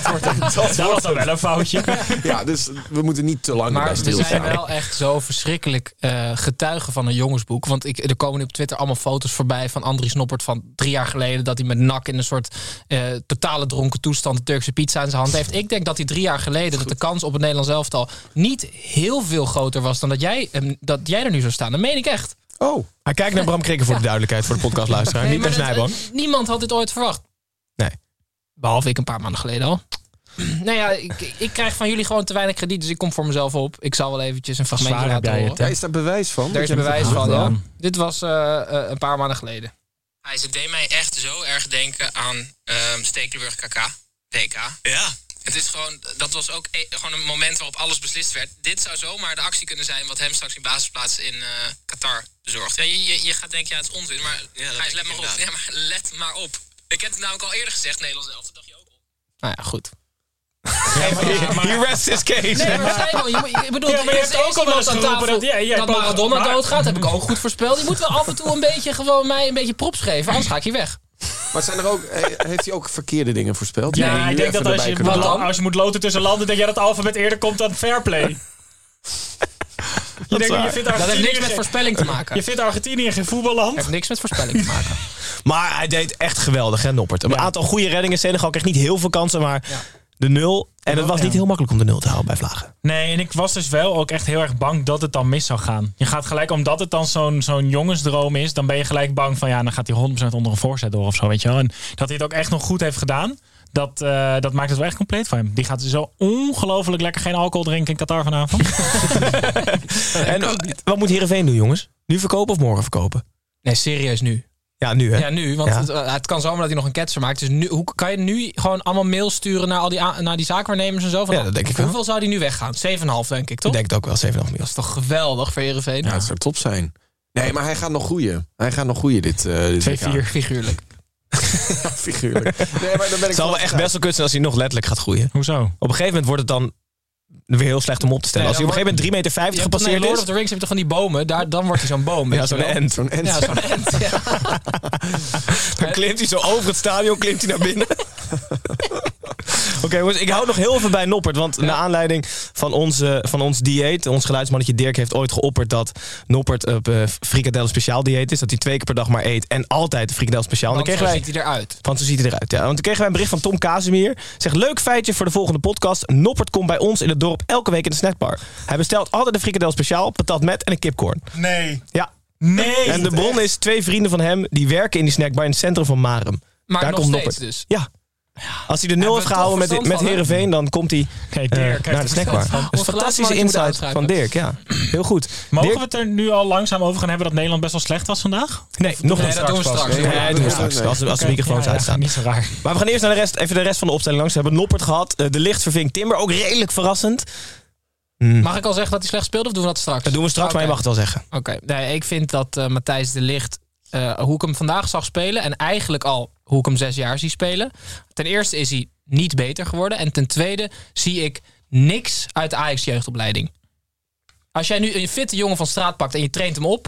[SPEAKER 5] wordt hem. dat, was dan wel een foutje.
[SPEAKER 4] ja, dus we moeten niet te lang
[SPEAKER 5] Oh,
[SPEAKER 4] erbij
[SPEAKER 6] Maar we
[SPEAKER 4] stilstaan.
[SPEAKER 6] zijn wel echt zo verschrikkelijk eh getuigen van een jongensboek. Want ik, er komen nu op Twitter allemaal foto's voorbij van Andries Noppert van drie jaar geleden. Dat hij met nak in een soort eh, totale dronken toestand de Turkse pizza in zijn hand heeft. Ik denk dat hij drie jaar geleden, dat de kans op het Nederlands elftal niet heel veel groter was dan dat jij, hem- dat jij er nu zou staan. Dat meen ik echt.
[SPEAKER 4] Oh,
[SPEAKER 1] Hij kijkt naar Bram Krikken voor de duidelijkheid, voor de podcastluisteraar.
[SPEAKER 6] Nee,
[SPEAKER 1] Niet naar
[SPEAKER 6] maar dat-
[SPEAKER 1] Snijboon.
[SPEAKER 6] eh, Niemand had dit ooit verwacht.
[SPEAKER 1] Nee.
[SPEAKER 6] Behalve ik een paar maanden geleden al. Nou ja, ik, ik krijg van jullie gewoon te weinig krediet, dus ik kom voor mezelf op. Ik zal wel eventjes een fragmentje
[SPEAKER 5] zwaar heb
[SPEAKER 6] laten
[SPEAKER 5] jij
[SPEAKER 6] horen.
[SPEAKER 5] het, hè?
[SPEAKER 4] daar is daar bewijs van.
[SPEAKER 6] Daar is
[SPEAKER 4] Dat je hem
[SPEAKER 6] bewijs
[SPEAKER 4] hebt
[SPEAKER 6] van.
[SPEAKER 4] gedaan.
[SPEAKER 6] Ja. Dit was eh, eh, een paar maanden geleden. Hij ze deed mij echt zo erg denken aan ehm, Stekelenburg KK. DK. Ja. Het is gewoon, dat was ook e- gewoon een moment waarop alles beslist werd. Dit zou zomaar de actie kunnen zijn wat hem straks in basisplaats in eh, Qatar bezorgt. Ja, je, je, je gaat denken, ja, het is onzin, maar hij let maar op. Ja, maar let maar op. Ik heb het namelijk al eerder gezegd, Nederlands elftal, dacht je ook op. Nou ja, goed.
[SPEAKER 1] He rests his case.
[SPEAKER 6] Nee, maar Simon, je, moet- ik bedoel,
[SPEAKER 5] Ja, maar je
[SPEAKER 6] er is
[SPEAKER 5] hebt ook
[SPEAKER 6] eerst
[SPEAKER 5] al wel eens
[SPEAKER 6] iemand aan
[SPEAKER 5] geroepen
[SPEAKER 6] tafel
[SPEAKER 5] dat- ja, jij
[SPEAKER 6] dat
[SPEAKER 5] hebt ook-
[SPEAKER 6] Maradona
[SPEAKER 5] maar-
[SPEAKER 6] doodgaat. Heb ik ook goed voorspeld. Je moet wel af en toe een beetje gewoon mij een beetje props geven. Anders ga ik hier weg.
[SPEAKER 4] Maar zijn er ook, he- heeft hij ook verkeerde dingen voorspeld?
[SPEAKER 5] Ja,
[SPEAKER 4] Die we nu
[SPEAKER 5] ik denk
[SPEAKER 4] even
[SPEAKER 5] dat als
[SPEAKER 4] erbij
[SPEAKER 5] je,
[SPEAKER 4] kunnen
[SPEAKER 5] moet-
[SPEAKER 4] halen?
[SPEAKER 5] als je moet loten tussen landen, denk jij dat het alfabet eerder komt dan fairplay. Je, denkt,
[SPEAKER 1] waar.
[SPEAKER 5] je, vindt
[SPEAKER 6] Dat heeft
[SPEAKER 5] Argentinië
[SPEAKER 6] niks met
[SPEAKER 5] geen-
[SPEAKER 6] voorspelling te maken.
[SPEAKER 5] je vindt Argentinië geen voetballand?
[SPEAKER 6] heeft niks met voorspelling te maken.
[SPEAKER 1] Maar hij deed echt geweldig, hè, Noppert. Een aantal goede reddingen. Senegal kreeg niet heel veel kansen, maar de nul. En het was niet heel makkelijk om de nul te houden bij Vlagen.
[SPEAKER 5] Nee, en ik was dus wel ook echt heel erg bang dat het dan mis zou gaan. Je gaat gelijk, omdat het dan zo'n zo'n jongensdroom is, dan ben je gelijk bang van ja, dan gaat hij 100% onder een voorzet door of zo, weet je wel. En dat hij het ook echt nog goed heeft gedaan, dat, eh, dat maakt het wel echt compleet voor hem. Die gaat zo ongelooflijk lekker geen alcohol drinken in Qatar vanavond.
[SPEAKER 1] En eh, wat moet Heerenveen doen, jongens? Nu verkopen of morgen verkopen?
[SPEAKER 6] Nee, serieus nu.
[SPEAKER 1] Ja, nu hè.
[SPEAKER 6] Ja, nu. Want
[SPEAKER 1] Ja.
[SPEAKER 6] Het, eh, het kan zomaar dat hij nog een ketser maakt. Dus nu, hoe kan je nu gewoon allemaal mail sturen naar, al die, a- naar die zaakwaarnemers en zo? Van,
[SPEAKER 1] Ja, dat denk ik wel.
[SPEAKER 6] Hoeveel zou die nu weggaan? 7,5 denk ik,
[SPEAKER 1] Ik
[SPEAKER 6] toch?
[SPEAKER 1] denk het ook wel, 7,5 miljoen.
[SPEAKER 6] Dat is toch geweldig voor Heerenveen?
[SPEAKER 4] Ja, het zou top zijn. Nee, maar hij gaat nog groeien. Hij gaat nog groeien dit, eh dit WK.
[SPEAKER 6] Figuurlijk.
[SPEAKER 4] Ja, figuurlijk. Nee, maar dan ben ik
[SPEAKER 1] Het zal wel echt best wel kut zijn als hij nog letterlijk gaat groeien.
[SPEAKER 5] Hoezo?
[SPEAKER 1] Op een gegeven moment wordt het dan weer heel slecht om op te stellen. als
[SPEAKER 6] Nee,
[SPEAKER 1] hij op een
[SPEAKER 6] dan
[SPEAKER 1] gegeven moment 3,50 meter
[SPEAKER 6] Je hebt toch, nee,
[SPEAKER 1] gepasseerd
[SPEAKER 6] Lord
[SPEAKER 1] is.
[SPEAKER 6] of the Rings heb je toch van die bomen? Daar, dan wordt hij zo'n boom. weet
[SPEAKER 1] Ja,
[SPEAKER 6] je
[SPEAKER 1] zo'n
[SPEAKER 6] wel.
[SPEAKER 1] end.
[SPEAKER 4] Zo'n end.
[SPEAKER 6] Ja, zo'n end. Ja.
[SPEAKER 1] Dan klimt hij zo over het stadion, klimt hij naar binnen. Oké jongens, ik hou nog heel even bij Noppert. Want naar aanleiding van, onze, van ons dieet... ons geluidsmannetje Dirk heeft ooit geopperd dat Noppert op eh frikadellen speciaal dieet is. Dat hij twee keer per dag maar eet en altijd de frikadellen speciaal. En
[SPEAKER 6] Dan
[SPEAKER 1] dan kregen wij,
[SPEAKER 6] ziet hij eruit.
[SPEAKER 1] want zo ziet hij eruit, ja. Want toen kregen wij een bericht van Tom Kazemier. Zegt, leuk feitje voor de volgende podcast. Noppert komt bij ons in het dorp elke week in de snackbar. Hij bestelt altijd een frikadel speciaal, patat met en een kipcorn.
[SPEAKER 5] Nee.
[SPEAKER 1] Ja,
[SPEAKER 5] Nee.
[SPEAKER 1] en de bron is twee vrienden van hem die werken in die snackbar in het centrum van Marum.
[SPEAKER 6] Maar
[SPEAKER 1] Daar
[SPEAKER 6] nog
[SPEAKER 1] komt
[SPEAKER 6] steeds
[SPEAKER 1] Noppert.
[SPEAKER 6] dus.
[SPEAKER 1] Ja. Als hij de nul
[SPEAKER 6] Hebben
[SPEAKER 1] heeft
[SPEAKER 6] we
[SPEAKER 1] gehouden
[SPEAKER 6] toch
[SPEAKER 1] met, met
[SPEAKER 6] verstand van, hè?
[SPEAKER 1] Heerenveen, dan komt hij
[SPEAKER 5] Kijk,
[SPEAKER 1] eh,
[SPEAKER 5] Dirk heeft
[SPEAKER 1] naar de
[SPEAKER 5] er verstand
[SPEAKER 1] snackbar.
[SPEAKER 5] van.
[SPEAKER 1] Dat is
[SPEAKER 6] Ons
[SPEAKER 1] fantastische
[SPEAKER 6] geluidsmannetje moet
[SPEAKER 1] insight
[SPEAKER 6] aanschrijven.
[SPEAKER 1] van Dirk, ja. Heel goed.
[SPEAKER 5] Mogen
[SPEAKER 1] Dirk-
[SPEAKER 5] we het er nu al langzaam over gaan hebben dat Nederland best wel slecht was vandaag?
[SPEAKER 1] Nee, nog
[SPEAKER 6] Nee,
[SPEAKER 1] niet.
[SPEAKER 6] dat doen we
[SPEAKER 5] straks
[SPEAKER 6] straks.
[SPEAKER 1] Nee, dat doen we
[SPEAKER 4] Ja,
[SPEAKER 1] straks.
[SPEAKER 4] nee.
[SPEAKER 1] Als, als de microfoons
[SPEAKER 5] Ja, ja,
[SPEAKER 1] uitstaan.
[SPEAKER 5] Niet zo raar.
[SPEAKER 1] Maar we gaan eerst naar de rest, even de rest van de opstelling langs. We hebben Noppert gehad. eh, De licht verving Timber, ook redelijk verrassend.
[SPEAKER 6] Mag ik al zeggen dat hij slecht speelde of doen we dat straks?
[SPEAKER 1] Hm. Dat doen we straks,
[SPEAKER 6] Oké.
[SPEAKER 1] maar je mag het wel zeggen.
[SPEAKER 6] Oké, nee, ik vind dat eh, Matthijs de Licht, eh, hoe ik hem vandaag zag spelen... en eigenlijk al hoe ik hem zes jaar zie spelen... ten eerste is hij niet beter geworden... en ten tweede zie ik niks uit de Ajax-jeugdopleiding. Als jij nu een fitte jongen van straat pakt en je traint hem op...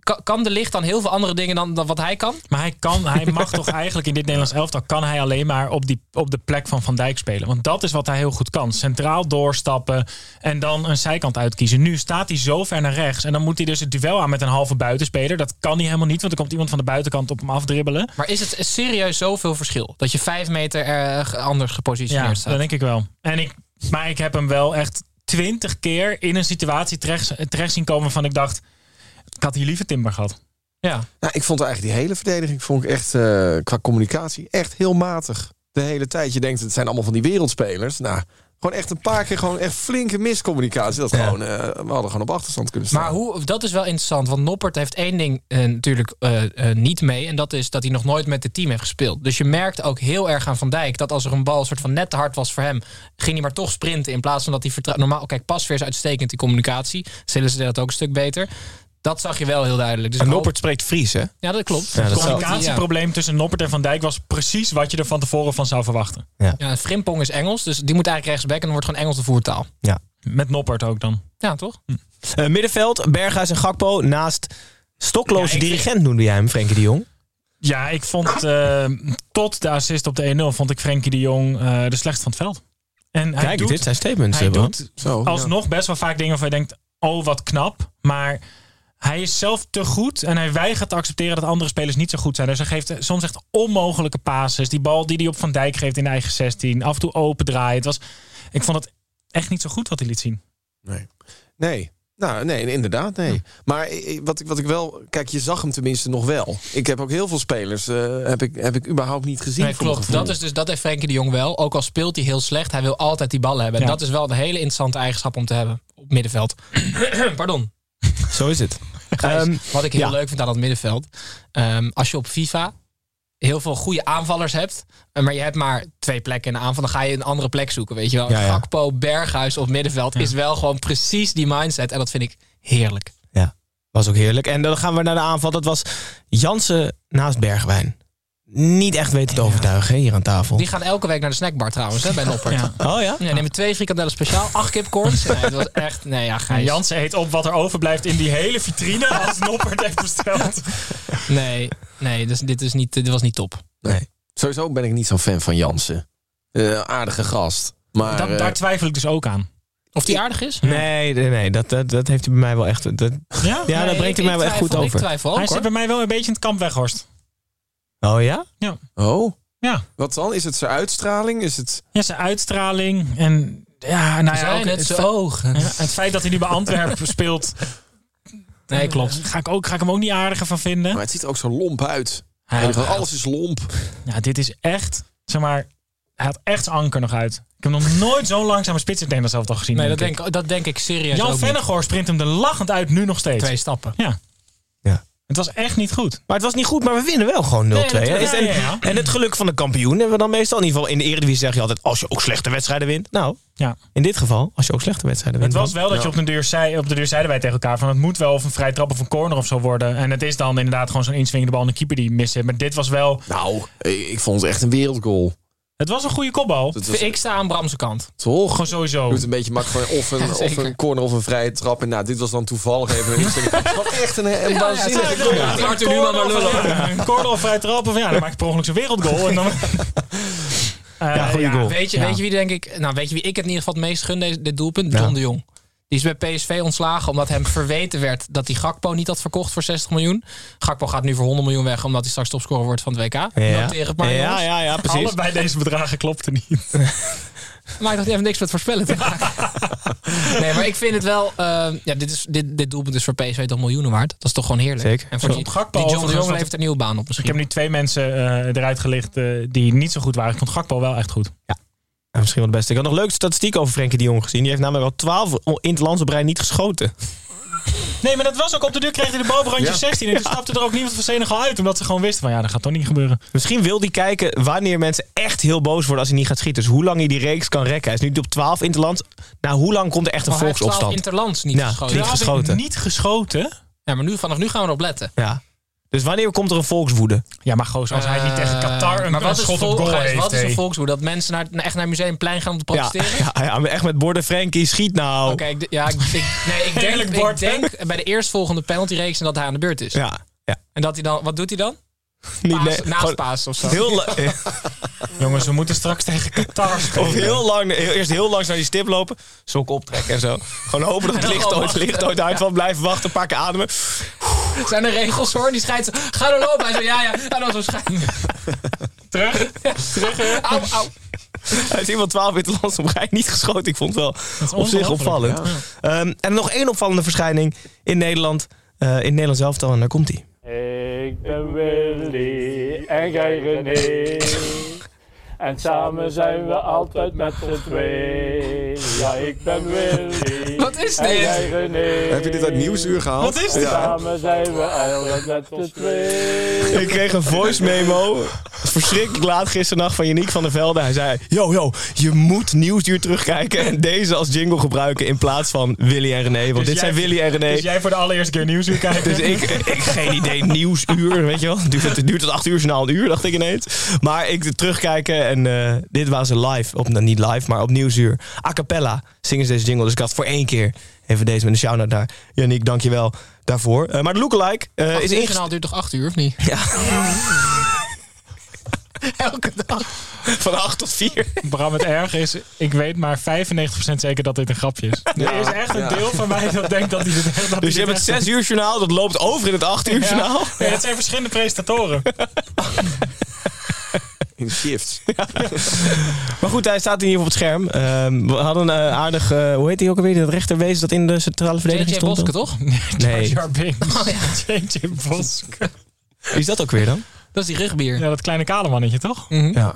[SPEAKER 6] ka- kan de Licht dan heel veel andere dingen dan, dan wat hij kan?
[SPEAKER 5] Maar hij kan, hij mag toch eigenlijk in dit Nederlands elftal kan hij alleen maar op, die, op de plek van Van Dijk spelen. Want dat is wat hij heel goed kan. Centraal doorstappen en dan een zijkant uitkiezen. Nu staat hij zo ver naar rechts en dan moet hij dus het duel aan met een halve buitenspeler. Dat kan hij helemaal niet, want er komt iemand van de buitenkant op hem afdribbelen.
[SPEAKER 6] Maar is het serieus zoveel verschil? Dat je vijf meter eh, ge- anders gepositioneerd
[SPEAKER 5] Ja,
[SPEAKER 6] staat?
[SPEAKER 5] dat denk ik wel. En ik, maar ik heb hem wel echt twintig keer in een situatie terecht, terecht zien komen van ik dacht, ik had hier liever Timber gehad. Ja.
[SPEAKER 4] Nou, ik vond eigenlijk die hele verdediging vond ik echt, eh, qua communicatie echt heel matig. De hele tijd. Je denkt, het zijn allemaal van die wereldspelers. Nou, gewoon echt een paar keer gewoon echt flinke miscommunicatie. Dat gewoon, eh, we hadden gewoon op achterstand kunnen staan.
[SPEAKER 6] Maar hoe, dat is wel interessant, want Noppert heeft één ding eh, natuurlijk eh, eh, niet mee. En dat is dat hij nog nooit met het team heeft gespeeld. Dus je merkt ook heel erg aan Van Dijk dat als er een bal soort van net te hard was voor hem, ging hij maar toch sprinten. In plaats van dat hij vertrouwt. Normaal, kijk, pasveer is uitstekend in communicatie. Sillis deed dat ook een stuk beter. Dat zag je wel heel duidelijk. Dus
[SPEAKER 1] En
[SPEAKER 6] ik hoop-
[SPEAKER 1] Noppert spreekt Fries, hè?
[SPEAKER 6] Oh, Ja, dat klopt. Dus
[SPEAKER 1] Ja, dat
[SPEAKER 5] Het
[SPEAKER 1] zou-
[SPEAKER 5] communicatieprobleem tussen Noppert en Van Dijk was precies wat je er van tevoren van zou verwachten.
[SPEAKER 6] Ja, en Frimpong is Engels, dus die moet eigenlijk rechtsback en dan wordt gewoon Engels de voertaal.
[SPEAKER 5] Met Noppert ook dan.
[SPEAKER 6] Ja, toch?
[SPEAKER 1] Eh, middenveld, Berghuis en Gakpo. Naast stokloze
[SPEAKER 5] Ja, ik-
[SPEAKER 1] dirigent noemde jij hem, Frenkie de Jong.
[SPEAKER 5] Ja, ik vond eh, tot de assist op de 1-0 vond ik Frenkie de Jong eh, de slechtste van het veld. En hij
[SPEAKER 1] Kijk,
[SPEAKER 5] doet,
[SPEAKER 1] dit zijn statements.
[SPEAKER 5] hij
[SPEAKER 1] eh, Bram.
[SPEAKER 5] doet
[SPEAKER 4] Zo, ja.
[SPEAKER 5] alsnog best wel vaak dingen waarvan je denkt, oh wat knap. Maar hij is zelf te goed en hij weigert te accepteren dat andere spelers niet zo goed zijn. Dus hij geeft eh, soms echt onmogelijke passes. Die bal die hij op Van Dijk geeft in de eigen 16. Af en toe open draaien. Het was, ik vond het echt niet zo goed wat hij liet zien.
[SPEAKER 4] Nee. Nou, nee, inderdaad, nee. Maar eh, wat ik, wat ik wel... Kijk, je zag hem tenminste nog wel. Ik heb ook heel veel spelers... eh, heb, ik, heb ik überhaupt niet gezien.
[SPEAKER 6] Nee,
[SPEAKER 4] voor mijn
[SPEAKER 6] klopt.
[SPEAKER 4] gevoel.
[SPEAKER 6] Dat, is dus, dat heeft Frenkie de Jong wel. Ook al speelt hij heel slecht, hij wil altijd die ballen hebben. En
[SPEAKER 5] Ja.
[SPEAKER 6] dat is wel een hele interessante eigenschap om te hebben op middenveld. Pardon.
[SPEAKER 1] Zo is het.
[SPEAKER 6] Gijs,
[SPEAKER 1] Ehm,
[SPEAKER 6] wat ik heel
[SPEAKER 1] ja.
[SPEAKER 6] leuk vind aan dat middenveld. ehm, als je op FIFA heel veel goede aanvallers hebt, eh, maar je hebt maar twee plekken in de aanval, dan ga je een andere plek zoeken, weet je wel.
[SPEAKER 1] Ja, ja.
[SPEAKER 6] Gakpo, Berghuis op middenveld is wel gewoon precies die mindset. En dat vind ik heerlijk.
[SPEAKER 1] Was ook heerlijk. En dan gaan we naar de aanval. Dat was Jansen naast Bergwijn. Niet echt weten te overtuigen hè, hier aan tafel.
[SPEAKER 6] Die gaan elke week naar de snackbar trouwens, hè, bij Noppert.
[SPEAKER 5] Ja.
[SPEAKER 1] Oh ja?
[SPEAKER 6] Ja, neem twee frikandellen speciaal, acht kipcorns. Nee, dat was echt... Nee, ja,
[SPEAKER 5] En
[SPEAKER 6] Gijs.
[SPEAKER 5] Jansen eet op wat er overblijft in die hele vitrine als Noppert heeft besteld.
[SPEAKER 6] Nee, nee dus dit, is niet, dit was niet top.
[SPEAKER 4] Sowieso ben ik niet zo'n fan van Jansen. Eh, aardige gast. Maar
[SPEAKER 5] Dat-
[SPEAKER 4] eh,
[SPEAKER 5] daar twijfel ik dus ook aan.
[SPEAKER 6] Of die aardig is?
[SPEAKER 1] Nee, nee, nee. Dat, dat, dat heeft hij bij mij wel echt... Dat,
[SPEAKER 5] Ja?
[SPEAKER 1] ja,
[SPEAKER 6] Nee,
[SPEAKER 1] dat brengt hij
[SPEAKER 6] ik-
[SPEAKER 1] mij
[SPEAKER 6] ik
[SPEAKER 1] wel echt goed
[SPEAKER 6] twijfel- Ik
[SPEAKER 1] over.
[SPEAKER 6] twijfel ook,
[SPEAKER 5] Hij
[SPEAKER 6] hoor.
[SPEAKER 5] zit bij mij wel een beetje in het kamp Weghorst.
[SPEAKER 1] Oh ja?
[SPEAKER 4] Oh?
[SPEAKER 5] Ja.
[SPEAKER 4] Wat dan? Is het zijn uitstraling? Is het...
[SPEAKER 5] Ja, zijn uitstraling en ja, nou ja, ook
[SPEAKER 6] Zijn
[SPEAKER 5] het,
[SPEAKER 6] het
[SPEAKER 5] fe-
[SPEAKER 6] zijn ogen.
[SPEAKER 5] ja, het feit dat hij nu bij Antwerpen speelt,
[SPEAKER 6] Nee, klopt.
[SPEAKER 5] ga ik, ook, ga ik hem ook niet aardiger van
[SPEAKER 4] Maar
[SPEAKER 5] vinden.
[SPEAKER 4] het ziet er ook zo lomp uit.
[SPEAKER 5] Hij
[SPEAKER 4] En
[SPEAKER 5] had-
[SPEAKER 4] gewoon alles is lomp.
[SPEAKER 5] ja, dit is echt, zeg maar, hij had echt zijn anker nog uit. Ik heb nog nooit zo'n langzame spits in het Nederlands elftal gezien.
[SPEAKER 6] Nee, dat denk, ik- dat denk ik serieus
[SPEAKER 5] Jan
[SPEAKER 6] ook niet.
[SPEAKER 5] Vennegoor sprint hem er lachend uit nu nog steeds.
[SPEAKER 6] Twee stappen.
[SPEAKER 5] Het was echt niet goed.
[SPEAKER 1] Maar het was niet goed, maar we winnen wel gewoon 0-2.
[SPEAKER 5] Nee,
[SPEAKER 1] hè?
[SPEAKER 5] natuurlijk.
[SPEAKER 1] Is- en,
[SPEAKER 5] Ja, ja, ja.
[SPEAKER 1] en het geluk van de kampioen hebben we dan meestal. In ieder geval in de Eredivisie zeg je altijd... als je ook slechte wedstrijden wint. Nou,
[SPEAKER 5] Ja.
[SPEAKER 1] in dit geval, als je ook slechte wedstrijden
[SPEAKER 5] Het
[SPEAKER 1] wint.
[SPEAKER 5] was
[SPEAKER 1] dan-
[SPEAKER 5] wel dat je op de, deur zei, op de deur zeiden wij tegen elkaar van het moet wel of een vrij trap of een corner of zo worden. En het is dan inderdaad gewoon zo'n inswingende bal en de keeper die mist. Maar dit was wel,
[SPEAKER 4] Nou, eh, ik vond het echt een wereldgoal.
[SPEAKER 5] het was een goede kopbal.
[SPEAKER 4] Dat was,
[SPEAKER 6] Ik sta aan Bramse kant.
[SPEAKER 4] toch?
[SPEAKER 5] Gewoon sowieso.
[SPEAKER 4] doet een beetje mak van of een, of
[SPEAKER 6] zeker.
[SPEAKER 4] een corner of een vrije trap. En nou, dit was dan toevallig even een instinct. Het was echt een, een waanzinnige
[SPEAKER 6] tuurlijk.
[SPEAKER 4] goal.
[SPEAKER 6] Ja,
[SPEAKER 5] Ja,
[SPEAKER 6] Arthur Newman maar lullen.
[SPEAKER 5] Ja, Een corner of vrij trap. Of ja, dan maak je per ongeluk zijn wereldgoal. En dan... ja,
[SPEAKER 1] goeie goal.
[SPEAKER 6] Weet je,
[SPEAKER 5] Ja.
[SPEAKER 6] weet je wie denk ik... Nou, weet je wie ik het in ieder geval het meest gun, deze, dit doelpunt? John de Jong. Die is bij PSV ontslagen omdat hem verweten werd dat hij Gakpo niet had verkocht voor 60 miljoen. Gakpo gaat nu voor 100 miljoen weg omdat hij straks topscorer wordt van het WK.
[SPEAKER 1] Ja,
[SPEAKER 6] Noteer het maar,
[SPEAKER 1] ja,
[SPEAKER 6] jongens.
[SPEAKER 1] ja, ja, precies.
[SPEAKER 5] Allebei deze bedragen klopten niet.
[SPEAKER 6] Maar ik dacht, die heeft niks met voorspellen te maken. nee, maar ik vind het wel... eh, ja, dit, is, dit, dit doelpunt is voor PSV toch miljoenen waard? Dat is toch gewoon heerlijk?
[SPEAKER 1] Zeker.
[SPEAKER 6] En voor die,
[SPEAKER 5] Op Gakpo
[SPEAKER 6] die John de
[SPEAKER 5] overigens,
[SPEAKER 6] Jong
[SPEAKER 5] want-
[SPEAKER 6] levert een nieuwe baan op
[SPEAKER 5] Ik
[SPEAKER 6] misschien.
[SPEAKER 5] heb nu twee mensen eh, eruit gelicht eh, die niet zo goed waren. Ik vond Gakpo wel echt goed.
[SPEAKER 1] Ja, misschien wel de beste. Ik had nog leuke statistiek over Frenkie de Jong gezien. Die heeft namelijk al 12 in het lands op rij niet geschoten.
[SPEAKER 5] Nee, maar dat was ook op de deur kreeg hij de bal op randje
[SPEAKER 4] Ja.
[SPEAKER 5] 16. En toen stapte er ook niemand van Senegal uit. Omdat ze gewoon wisten van ja, dat gaat toch niet gebeuren.
[SPEAKER 1] Misschien wil hij kijken wanneer mensen echt heel boos worden als hij niet gaat schieten. Dus hoe lang hij die reeks kan rekken. Hij is nu op 12 in het land. Nou, hoe lang komt er echt een
[SPEAKER 6] Maar hij heeft 12
[SPEAKER 1] volksopstand?
[SPEAKER 6] interlands niet
[SPEAKER 1] Ja,
[SPEAKER 6] geschoten.
[SPEAKER 1] Niet
[SPEAKER 5] Terwijl hij
[SPEAKER 1] geschoten.
[SPEAKER 5] Niet geschoten.
[SPEAKER 6] Ja, maar nu, vanaf nu gaan we erop letten.
[SPEAKER 1] Ja. Dus wanneer komt er een volkswoede?
[SPEAKER 5] Ja, maar goos, als hij niet tegen Qatar een,
[SPEAKER 6] Eh, maar wat
[SPEAKER 5] een
[SPEAKER 6] is
[SPEAKER 5] schot op
[SPEAKER 6] vol-
[SPEAKER 5] goal
[SPEAKER 6] Gijs,
[SPEAKER 5] heeft.
[SPEAKER 6] Wat is
[SPEAKER 5] hé.
[SPEAKER 6] een volkswoord? Dat mensen naar, echt naar het museumplein gaan om te
[SPEAKER 1] Ja,
[SPEAKER 6] protesteren?
[SPEAKER 1] ja, ja, maar echt met borden. Frenkie, schiet nou.
[SPEAKER 6] Oké, ik d- ja, ik, ik- nee, ik denk,
[SPEAKER 5] Heerlijk bord,
[SPEAKER 6] ik denk bij de eerstvolgende penaltyreeks en dat hij aan de beurt is.
[SPEAKER 1] Ja, ja.
[SPEAKER 6] En dat hij dan, wat doet hij dan?
[SPEAKER 1] Niet
[SPEAKER 6] Paas,
[SPEAKER 1] nee,
[SPEAKER 6] naast
[SPEAKER 1] gewoon
[SPEAKER 6] paas of zo.
[SPEAKER 1] Heel la-
[SPEAKER 5] Jongens, we moeten straks tegen Qatar spelen.
[SPEAKER 1] of heel lang, heel- eerst heel langs naar die stip lopen, sok optrekken en zo. Gewoon hopen dat het
[SPEAKER 6] En dan
[SPEAKER 1] licht ooit,
[SPEAKER 6] wachten.
[SPEAKER 1] licht ooit uitvalt, blijven wachten, een paar keer ademen.
[SPEAKER 6] Zijn er regels hoor? Die scheidt. Ga nou er lopen. Hij zo, ja, ja. En dan zo schijnt.
[SPEAKER 5] Terug.
[SPEAKER 6] Au, au.
[SPEAKER 1] Hij is iemand 12 interlands op rij niet geschoten. Ik vond het wel op zich
[SPEAKER 5] ongelooflijk,
[SPEAKER 1] opvallend. Ehm, en nog één opvallende verschijning in Nederland. eh, in Nederland zelf en daar komt hij.
[SPEAKER 8] Ik ben Willy en jij René. En samen zijn we altijd met z'n twee. Ja, ik ben Willy.
[SPEAKER 6] Wat is
[SPEAKER 8] En
[SPEAKER 6] dit?
[SPEAKER 8] jij René.
[SPEAKER 4] Heb je dit uit Nieuwsuur gehaald?
[SPEAKER 1] Wat is
[SPEAKER 8] En
[SPEAKER 1] dit?
[SPEAKER 8] Samen zijn we altijd met z'n twee.
[SPEAKER 1] Ik kreeg een voice memo. Verschrikkelijk laat gisternacht van Yannick van der Velde. Hij zei: Yo, yo, je moet nieuwsuur terugkijken. En deze als jingle gebruiken in plaats van Willy en René. Want
[SPEAKER 5] Dus
[SPEAKER 1] dit
[SPEAKER 5] jij-
[SPEAKER 1] zijn Willy en René.
[SPEAKER 5] Dus
[SPEAKER 1] Dus,
[SPEAKER 5] jij voor de allereerste keer nieuwsuur kijken?
[SPEAKER 1] ik, ik geen idee, nieuwsuur. Weet je wel? Duurt het, duurt het acht uur, snel een uur, dacht ik ineens. Maar ik terugkijken en eh, dit waren ze live. Op, nou, niet live, maar op nieuwsuur. A cappella zingen ze deze jingle. Dus ik had voor één keer even deze met een shout-out naar Yannick. Dankjewel daarvoor. Eh, maar de lookalike eh, is
[SPEAKER 6] Is
[SPEAKER 1] ingesteld.
[SPEAKER 6] ingehaald duurt toch acht uur, of niet?
[SPEAKER 1] Elke dag. Van 8 tot 4.
[SPEAKER 5] Bram, het erg is, ik weet maar 95% zeker dat dit een grapje is. Er is echt een deel van mij dat denkt dat hij dit echt... dat hij
[SPEAKER 1] Dus je
[SPEAKER 5] dit
[SPEAKER 1] hebt het
[SPEAKER 5] echt-
[SPEAKER 1] 6 uur journaal, dat loopt over in het 8 uur journaal.
[SPEAKER 5] Ja. Nee, het zijn verschillende presentatoren.
[SPEAKER 4] In shifts.
[SPEAKER 1] Maar goed, hij staat hier op het scherm. Ehm, we hadden een eh, aardig, eh, hoe heet hij ook alweer, dat rechterwezen dat in de centrale verdediging
[SPEAKER 6] JJ
[SPEAKER 1] stond?
[SPEAKER 6] Boske,
[SPEAKER 1] dan?
[SPEAKER 6] toch?
[SPEAKER 1] Nee,
[SPEAKER 5] Jar Binks. J.J. Boske.
[SPEAKER 1] wie is dat ook weer dan?
[SPEAKER 6] Dat is die rugbier.
[SPEAKER 5] Ja, dat kleine kale mannetje, toch?
[SPEAKER 1] Ja.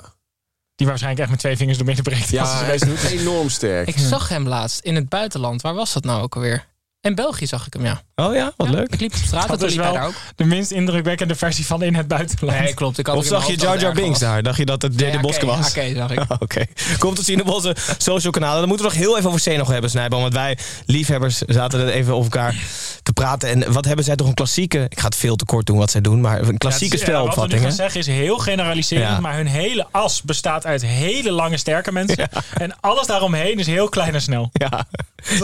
[SPEAKER 5] Die waarschijnlijk echt met twee vingers door midden breekt. als
[SPEAKER 4] Ja,
[SPEAKER 5] hij
[SPEAKER 4] hij
[SPEAKER 5] zijn best doet.
[SPEAKER 4] is enorm sterk.
[SPEAKER 6] Ik zag hem laatst in het buitenland. Waar was dat nou ook alweer? In België zag ik hem, ja.
[SPEAKER 1] Oh ja, wat
[SPEAKER 6] Ja,
[SPEAKER 1] leuk.
[SPEAKER 6] Ik liep op straat en
[SPEAKER 5] Dat
[SPEAKER 6] toen
[SPEAKER 5] is
[SPEAKER 6] liep hij
[SPEAKER 5] wel-
[SPEAKER 6] daar ook.
[SPEAKER 5] De minst indrukwekkende versie van in het buitenland.
[SPEAKER 6] Nee, klopt. Ik had
[SPEAKER 1] Of
[SPEAKER 6] het in
[SPEAKER 1] zag je
[SPEAKER 6] mijn
[SPEAKER 1] Jar
[SPEAKER 6] hoofd dat
[SPEAKER 1] Jar
[SPEAKER 6] het erger
[SPEAKER 1] Binks
[SPEAKER 6] was.
[SPEAKER 1] daar? Dacht je dat het J.J.
[SPEAKER 6] Nee, oké,
[SPEAKER 1] Boske was? Ah,
[SPEAKER 6] Oké, zag ik.
[SPEAKER 1] Oké, komt te zien op onze social kanalen. Dan moeten we nog heel even over Senog hebben, Snijboom. Want wij, liefhebbers, zaten er even over elkaar te praten. En wat hebben zij toch een klassieke... Ik ga het veel te kort doen wat zij doen, maar een klassieke
[SPEAKER 5] Ja, het is- ja, Wat we
[SPEAKER 1] spelopvatting.
[SPEAKER 5] nu
[SPEAKER 1] hè?
[SPEAKER 5] gaan zeggen is heel generaliserend,
[SPEAKER 1] Ja.
[SPEAKER 5] maar hun hele as bestaat uit hele lange sterke mensen. En alles daaromheen is heel klein en snel.
[SPEAKER 1] Ja,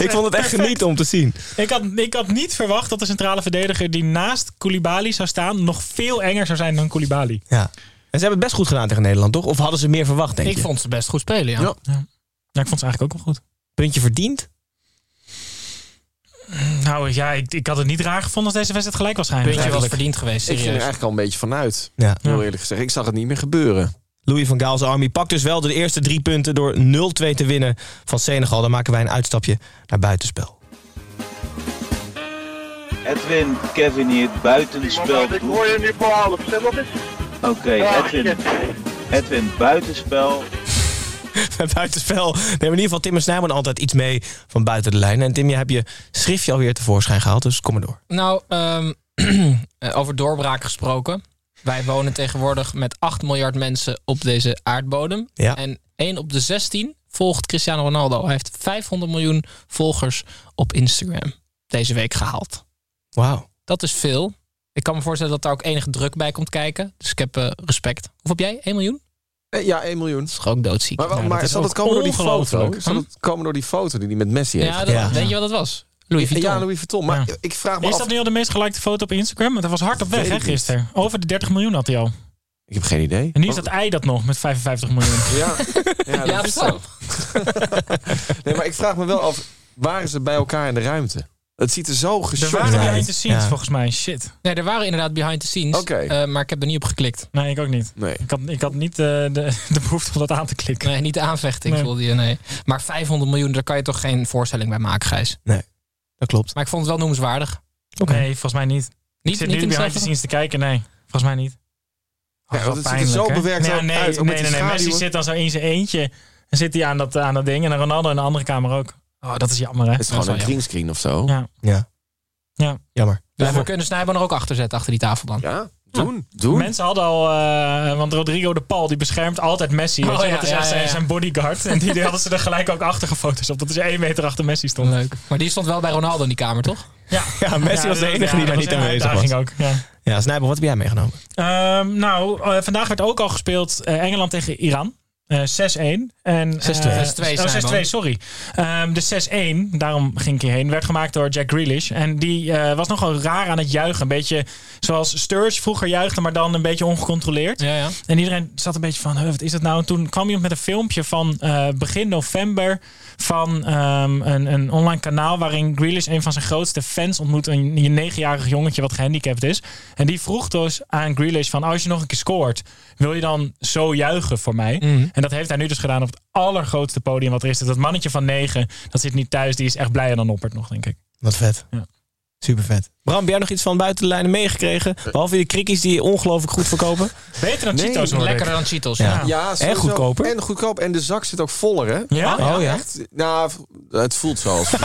[SPEAKER 1] ik vond het echt
[SPEAKER 5] perfect.
[SPEAKER 1] genieten om te zien.
[SPEAKER 5] Ik had, ik had niet verwacht dat de centrale verdediger die naast Koulibaly zou staan nog veel enger zou zijn dan Koulibaly.
[SPEAKER 1] Ja. En ze hebben het best goed gedaan tegen Nederland, toch? Of hadden ze meer verwacht, denk
[SPEAKER 6] Ik
[SPEAKER 1] je?
[SPEAKER 6] vond ze best goed spelen, ja.
[SPEAKER 4] Ja.
[SPEAKER 5] Ja, ik vond ze eigenlijk ook wel goed.
[SPEAKER 1] Puntje verdiend?
[SPEAKER 5] Nou ja, ik, ik had het niet raar gevonden als deze wedstrijd gelijk was geëindigd.
[SPEAKER 6] Puntje was
[SPEAKER 5] eigenlijk.
[SPEAKER 6] verdiend geweest,
[SPEAKER 4] Ik ging er
[SPEAKER 6] serieus.
[SPEAKER 4] eigenlijk al een beetje vanuit.
[SPEAKER 1] Ja.
[SPEAKER 4] Heel eerlijk gezegd. Ik zag het niet meer gebeuren.
[SPEAKER 1] Louis van Gaal's Army pakt dus wel de eerste drie punten door 0-2 te winnen van Senegal. Dan maken wij een uitstapje naar buitenspel.
[SPEAKER 9] Edwin, Kevin hier, het buitenspel. Ik hoor je nu balen, Oké, Edwin. Edwin, buitenspel.
[SPEAKER 1] Bij buitenspel nemen we in ieder geval Tim en Snijman altijd iets mee van buiten de lijn. En Tim, jij hebt je schriftje alweer tevoorschijn gehaald, dus kom maar door.
[SPEAKER 6] Nou, ehm, eh, over doorbraak gesproken. Wij wonen tegenwoordig met 8 miljard mensen op deze aardbodem.
[SPEAKER 1] Ja.
[SPEAKER 6] En 1 op de 16 volgt Cristiano Ronaldo. Hij heeft 500 miljoen volgers op Instagram deze week gehaald.
[SPEAKER 1] Wauw.
[SPEAKER 6] Dat is veel. Ik kan me voorstellen dat daar ook enige druk bij komt kijken. Dus ik heb eh, respect. Of heb jij? 1 miljoen?
[SPEAKER 4] Eh, Ja, 1 miljoen.
[SPEAKER 6] Dat is gewoon doodziek.
[SPEAKER 4] Maar, wa-
[SPEAKER 5] dat
[SPEAKER 4] maar
[SPEAKER 5] is
[SPEAKER 4] zal dat
[SPEAKER 5] ook
[SPEAKER 4] komen door die foto?
[SPEAKER 5] ongelooflijk.
[SPEAKER 4] Zal dat komen door die foto die hij met Messi heeft?
[SPEAKER 6] ja, dat,
[SPEAKER 1] Ja.
[SPEAKER 6] weet je wat dat was? Louis Vuitton.
[SPEAKER 4] Ja, Louis Vuitton. Maar
[SPEAKER 5] Ja.
[SPEAKER 4] ik vraag me
[SPEAKER 5] Is
[SPEAKER 4] af...
[SPEAKER 5] dat nu al de meest gelikte foto op Instagram? Want dat was hard op weg,
[SPEAKER 4] Weet
[SPEAKER 5] hè,
[SPEAKER 4] ik niet.
[SPEAKER 5] gisteren. Over de 30 miljoen had hij al.
[SPEAKER 4] Ik heb geen idee.
[SPEAKER 5] En nu is dat ei dat nog met 55 miljoen.
[SPEAKER 4] Ja, ja,
[SPEAKER 6] Ja,
[SPEAKER 4] dat is
[SPEAKER 6] zo.
[SPEAKER 4] zo. Nee, maar ik vraag me wel af, waren ze bij elkaar in de ruimte? Het ziet er zo
[SPEAKER 5] Er
[SPEAKER 4] geschokt
[SPEAKER 5] waren
[SPEAKER 1] Ja.
[SPEAKER 5] behind
[SPEAKER 4] uit.
[SPEAKER 5] the scenes,
[SPEAKER 1] Ja.
[SPEAKER 5] volgens mij. Shit.
[SPEAKER 6] Nee, er waren inderdaad behind the scenes.
[SPEAKER 4] Oké.
[SPEAKER 6] eh, maar ik heb er niet op geklikt.
[SPEAKER 5] Nee, ik ook niet.
[SPEAKER 4] Nee.
[SPEAKER 5] Ik had, ik had niet eh, de, de behoefte om dat aan te klikken.
[SPEAKER 6] Nee, niet de aanvechting
[SPEAKER 5] Nee.
[SPEAKER 6] wilde je, nee. Maar 500 miljoen, daar kan je toch geen voorstelling bij maken, Gijs?
[SPEAKER 1] Dat klopt.
[SPEAKER 6] Maar ik vond het wel noemenswaardig.
[SPEAKER 1] Oké.
[SPEAKER 5] Nee, volgens mij niet.
[SPEAKER 6] Niet, niet
[SPEAKER 5] ik zit nu
[SPEAKER 6] in
[SPEAKER 5] behind the
[SPEAKER 6] dezelfde-
[SPEAKER 5] scenes te kijken. Nee, volgens mij niet.
[SPEAKER 4] Ja,
[SPEAKER 5] Oh,
[SPEAKER 4] want
[SPEAKER 5] wat
[SPEAKER 4] het ziet er zo
[SPEAKER 5] pijnlijk, hè?
[SPEAKER 4] bewerkt
[SPEAKER 5] nee,
[SPEAKER 4] uit-
[SPEAKER 5] nee,
[SPEAKER 4] uit, ook
[SPEAKER 5] Nee,
[SPEAKER 4] met
[SPEAKER 5] nee,
[SPEAKER 4] die
[SPEAKER 5] nee. Messi
[SPEAKER 4] schaduwen.
[SPEAKER 5] zit dan zo in zijn eentje. En zit hij aan dat, aan dat ding. En Ronaldo in de andere kamer ook. Oh, dat is jammer, hè?
[SPEAKER 4] Het is gewoon een greenscreen of zo.
[SPEAKER 5] Ja.
[SPEAKER 1] Jammer.
[SPEAKER 6] Ja, we kunnen Snijboon er ook achter zetten, achter die tafel dan.
[SPEAKER 4] Ja, doen. Doen.
[SPEAKER 5] Mensen hadden al, eh, want Rodrigo de Paul die beschermt altijd Messi.
[SPEAKER 6] Oh,
[SPEAKER 5] weet je,
[SPEAKER 6] ja,
[SPEAKER 5] dat is
[SPEAKER 6] ja,
[SPEAKER 5] echt
[SPEAKER 6] ja,
[SPEAKER 5] zijn-
[SPEAKER 6] ja.
[SPEAKER 5] zijn bodyguard. En die, die hadden ze er gelijk ook achter gefoto's op. Dat is één meter achter Messi stond.
[SPEAKER 6] Leuk. Maar die stond wel bij Ronaldo in die kamer, toch?
[SPEAKER 5] Ja,
[SPEAKER 1] Ja, Messi was de
[SPEAKER 5] dat-
[SPEAKER 1] enige die daar
[SPEAKER 5] dat
[SPEAKER 1] niet
[SPEAKER 5] een
[SPEAKER 1] aanwezig
[SPEAKER 5] uitdaging
[SPEAKER 1] was.
[SPEAKER 5] Ook, ja.
[SPEAKER 1] Ja, Snijboom, wat heb jij meegenomen?
[SPEAKER 5] Ehm, nou, eh, vandaag werd ook al gespeeld eh, Engeland tegen Iran. Eh 6-1. En, eh,
[SPEAKER 1] 6-2.
[SPEAKER 6] 6-2
[SPEAKER 5] oh,
[SPEAKER 6] zijn
[SPEAKER 5] 6-2,
[SPEAKER 6] we.
[SPEAKER 5] sorry. Ehm, de 6-1, daarom ging ik hierheen, werd gemaakt door Jack Grealish. En die eh, was nogal raar aan het juichen. Een beetje zoals Sturge vroeger juichte, maar dan een beetje ongecontroleerd.
[SPEAKER 6] Ja, ja.
[SPEAKER 5] En iedereen zat een beetje van, "Huh, wat is dat nou? En toen kwam iemand met een filmpje van eh, begin november van ehm, een, een online kanaal waarin Grealish een van zijn grootste fans ontmoet. Een, een negenjarig jongetje wat gehandicapt is. En
[SPEAKER 1] Mhm.
[SPEAKER 5] die vroeg dus aan Grealish van, als je nog een keer scoort, wil je dan zo juichen voor mij? En dat heeft hij nu dus gedaan op het allergrootste podium wat er is. Dus Dat mannetje van negen, dat zit niet thuis. Die is echt blijer dan Noppert nog, denk ik.
[SPEAKER 1] Wat vet. Super vet. Bram, heb jij nog iets van buiten de lijnen meegekregen?
[SPEAKER 5] Eh.
[SPEAKER 1] Behalve die krikkies die je ongelooflijk goed verkopen.
[SPEAKER 5] Beter dan Cheetos, hoor ik. Lekkerder dan Cheetos, ja.
[SPEAKER 1] en
[SPEAKER 4] sowieso.
[SPEAKER 1] goedkoper.
[SPEAKER 4] En goedkoop. En de zak zit ook voller, hè?
[SPEAKER 1] Ja? Oh, ja.
[SPEAKER 4] Echt? Nou, het voelt zo. Als...
[SPEAKER 5] Je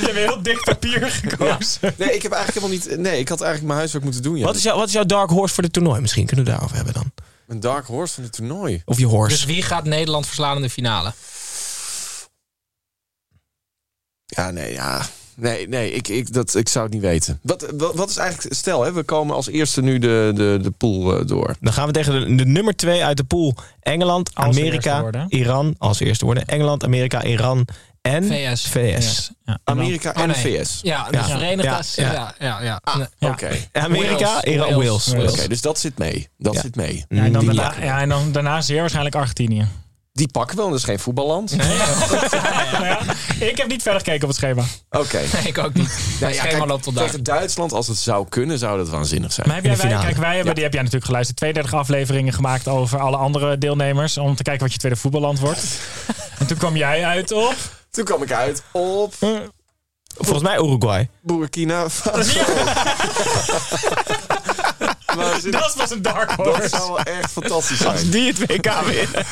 [SPEAKER 5] hebt heel dik papier gekozen.
[SPEAKER 4] Nee, ik heb eigenlijk helemaal niet... Nee, ik had eigenlijk mijn huiswerk moeten doen, ja.
[SPEAKER 1] Wat, is jouw, wat is jouw dark horse voor dit toernooi? Misschien kunnen we het daarover hebben dan.
[SPEAKER 4] Een dark horse van het toernooi.
[SPEAKER 1] Of je horse.
[SPEAKER 6] Dus wie gaat Nederland verslaan in de finale?
[SPEAKER 4] Ja, nee, ja. Nee, nee ik, ik, dat, ik zou het niet weten. Wat, wat, wat is eigenlijk... Stel, hè, we komen als eerste nu de, de, de pool eh, door.
[SPEAKER 1] Dan gaan we tegen de, de nummer 2 uit de pool. Engeland,
[SPEAKER 5] Als eerste
[SPEAKER 1] Amerika,
[SPEAKER 5] worden.
[SPEAKER 1] Iran als eerste worden. Engeland, Amerika, Iran en
[SPEAKER 6] VS.
[SPEAKER 1] VS.
[SPEAKER 5] Ja.
[SPEAKER 4] Amerika en
[SPEAKER 6] Oh,
[SPEAKER 4] de
[SPEAKER 6] nee.
[SPEAKER 4] VS.
[SPEAKER 6] Ja, de
[SPEAKER 1] Ja.
[SPEAKER 6] Verenigde
[SPEAKER 1] Ja,
[SPEAKER 6] Staten. Ja, ja, ja. Nee.
[SPEAKER 4] Oké.
[SPEAKER 1] Amerika,
[SPEAKER 6] Wales.
[SPEAKER 1] Iran, Wales.
[SPEAKER 6] Wales.
[SPEAKER 4] Oké,
[SPEAKER 5] Wales.
[SPEAKER 4] dus dat zit mee. Dat
[SPEAKER 1] Ja.
[SPEAKER 4] zit mee.
[SPEAKER 5] Ja, en dan
[SPEAKER 1] Die
[SPEAKER 5] daarna, ja, en dan daarna zeer waarschijnlijk Argentinië.
[SPEAKER 4] Die pakken wel, dat is geen voetballand.
[SPEAKER 5] Ik heb niet verder gekeken op het schema.
[SPEAKER 4] Oké.
[SPEAKER 6] Nee, ik ook niet.
[SPEAKER 4] Nou
[SPEAKER 6] Mijn
[SPEAKER 4] ja,
[SPEAKER 6] schema
[SPEAKER 4] kijk,
[SPEAKER 6] loopt tot daar.
[SPEAKER 4] tegen Duitsland, als het zou kunnen, zou dat waanzinnig zijn.
[SPEAKER 5] Maar heb jij,
[SPEAKER 1] In de
[SPEAKER 5] wij,
[SPEAKER 1] finale.
[SPEAKER 5] kijk, wij hebben, die heb jij natuurlijk geluisterd, 32 afleveringen gemaakt over alle andere deelnemers. Om te kijken wat je tweede voetballand wordt. en toen kwam jij uit op.
[SPEAKER 4] Toen kwam ik uit op
[SPEAKER 5] Hm.
[SPEAKER 1] Volgens mij Uruguay.
[SPEAKER 4] Burkina Faso. maar zin-
[SPEAKER 5] Dat was een dark
[SPEAKER 4] dat
[SPEAKER 5] horse.
[SPEAKER 4] zou wel echt fantastisch
[SPEAKER 1] Als
[SPEAKER 4] zijn.
[SPEAKER 1] die het WK winnen.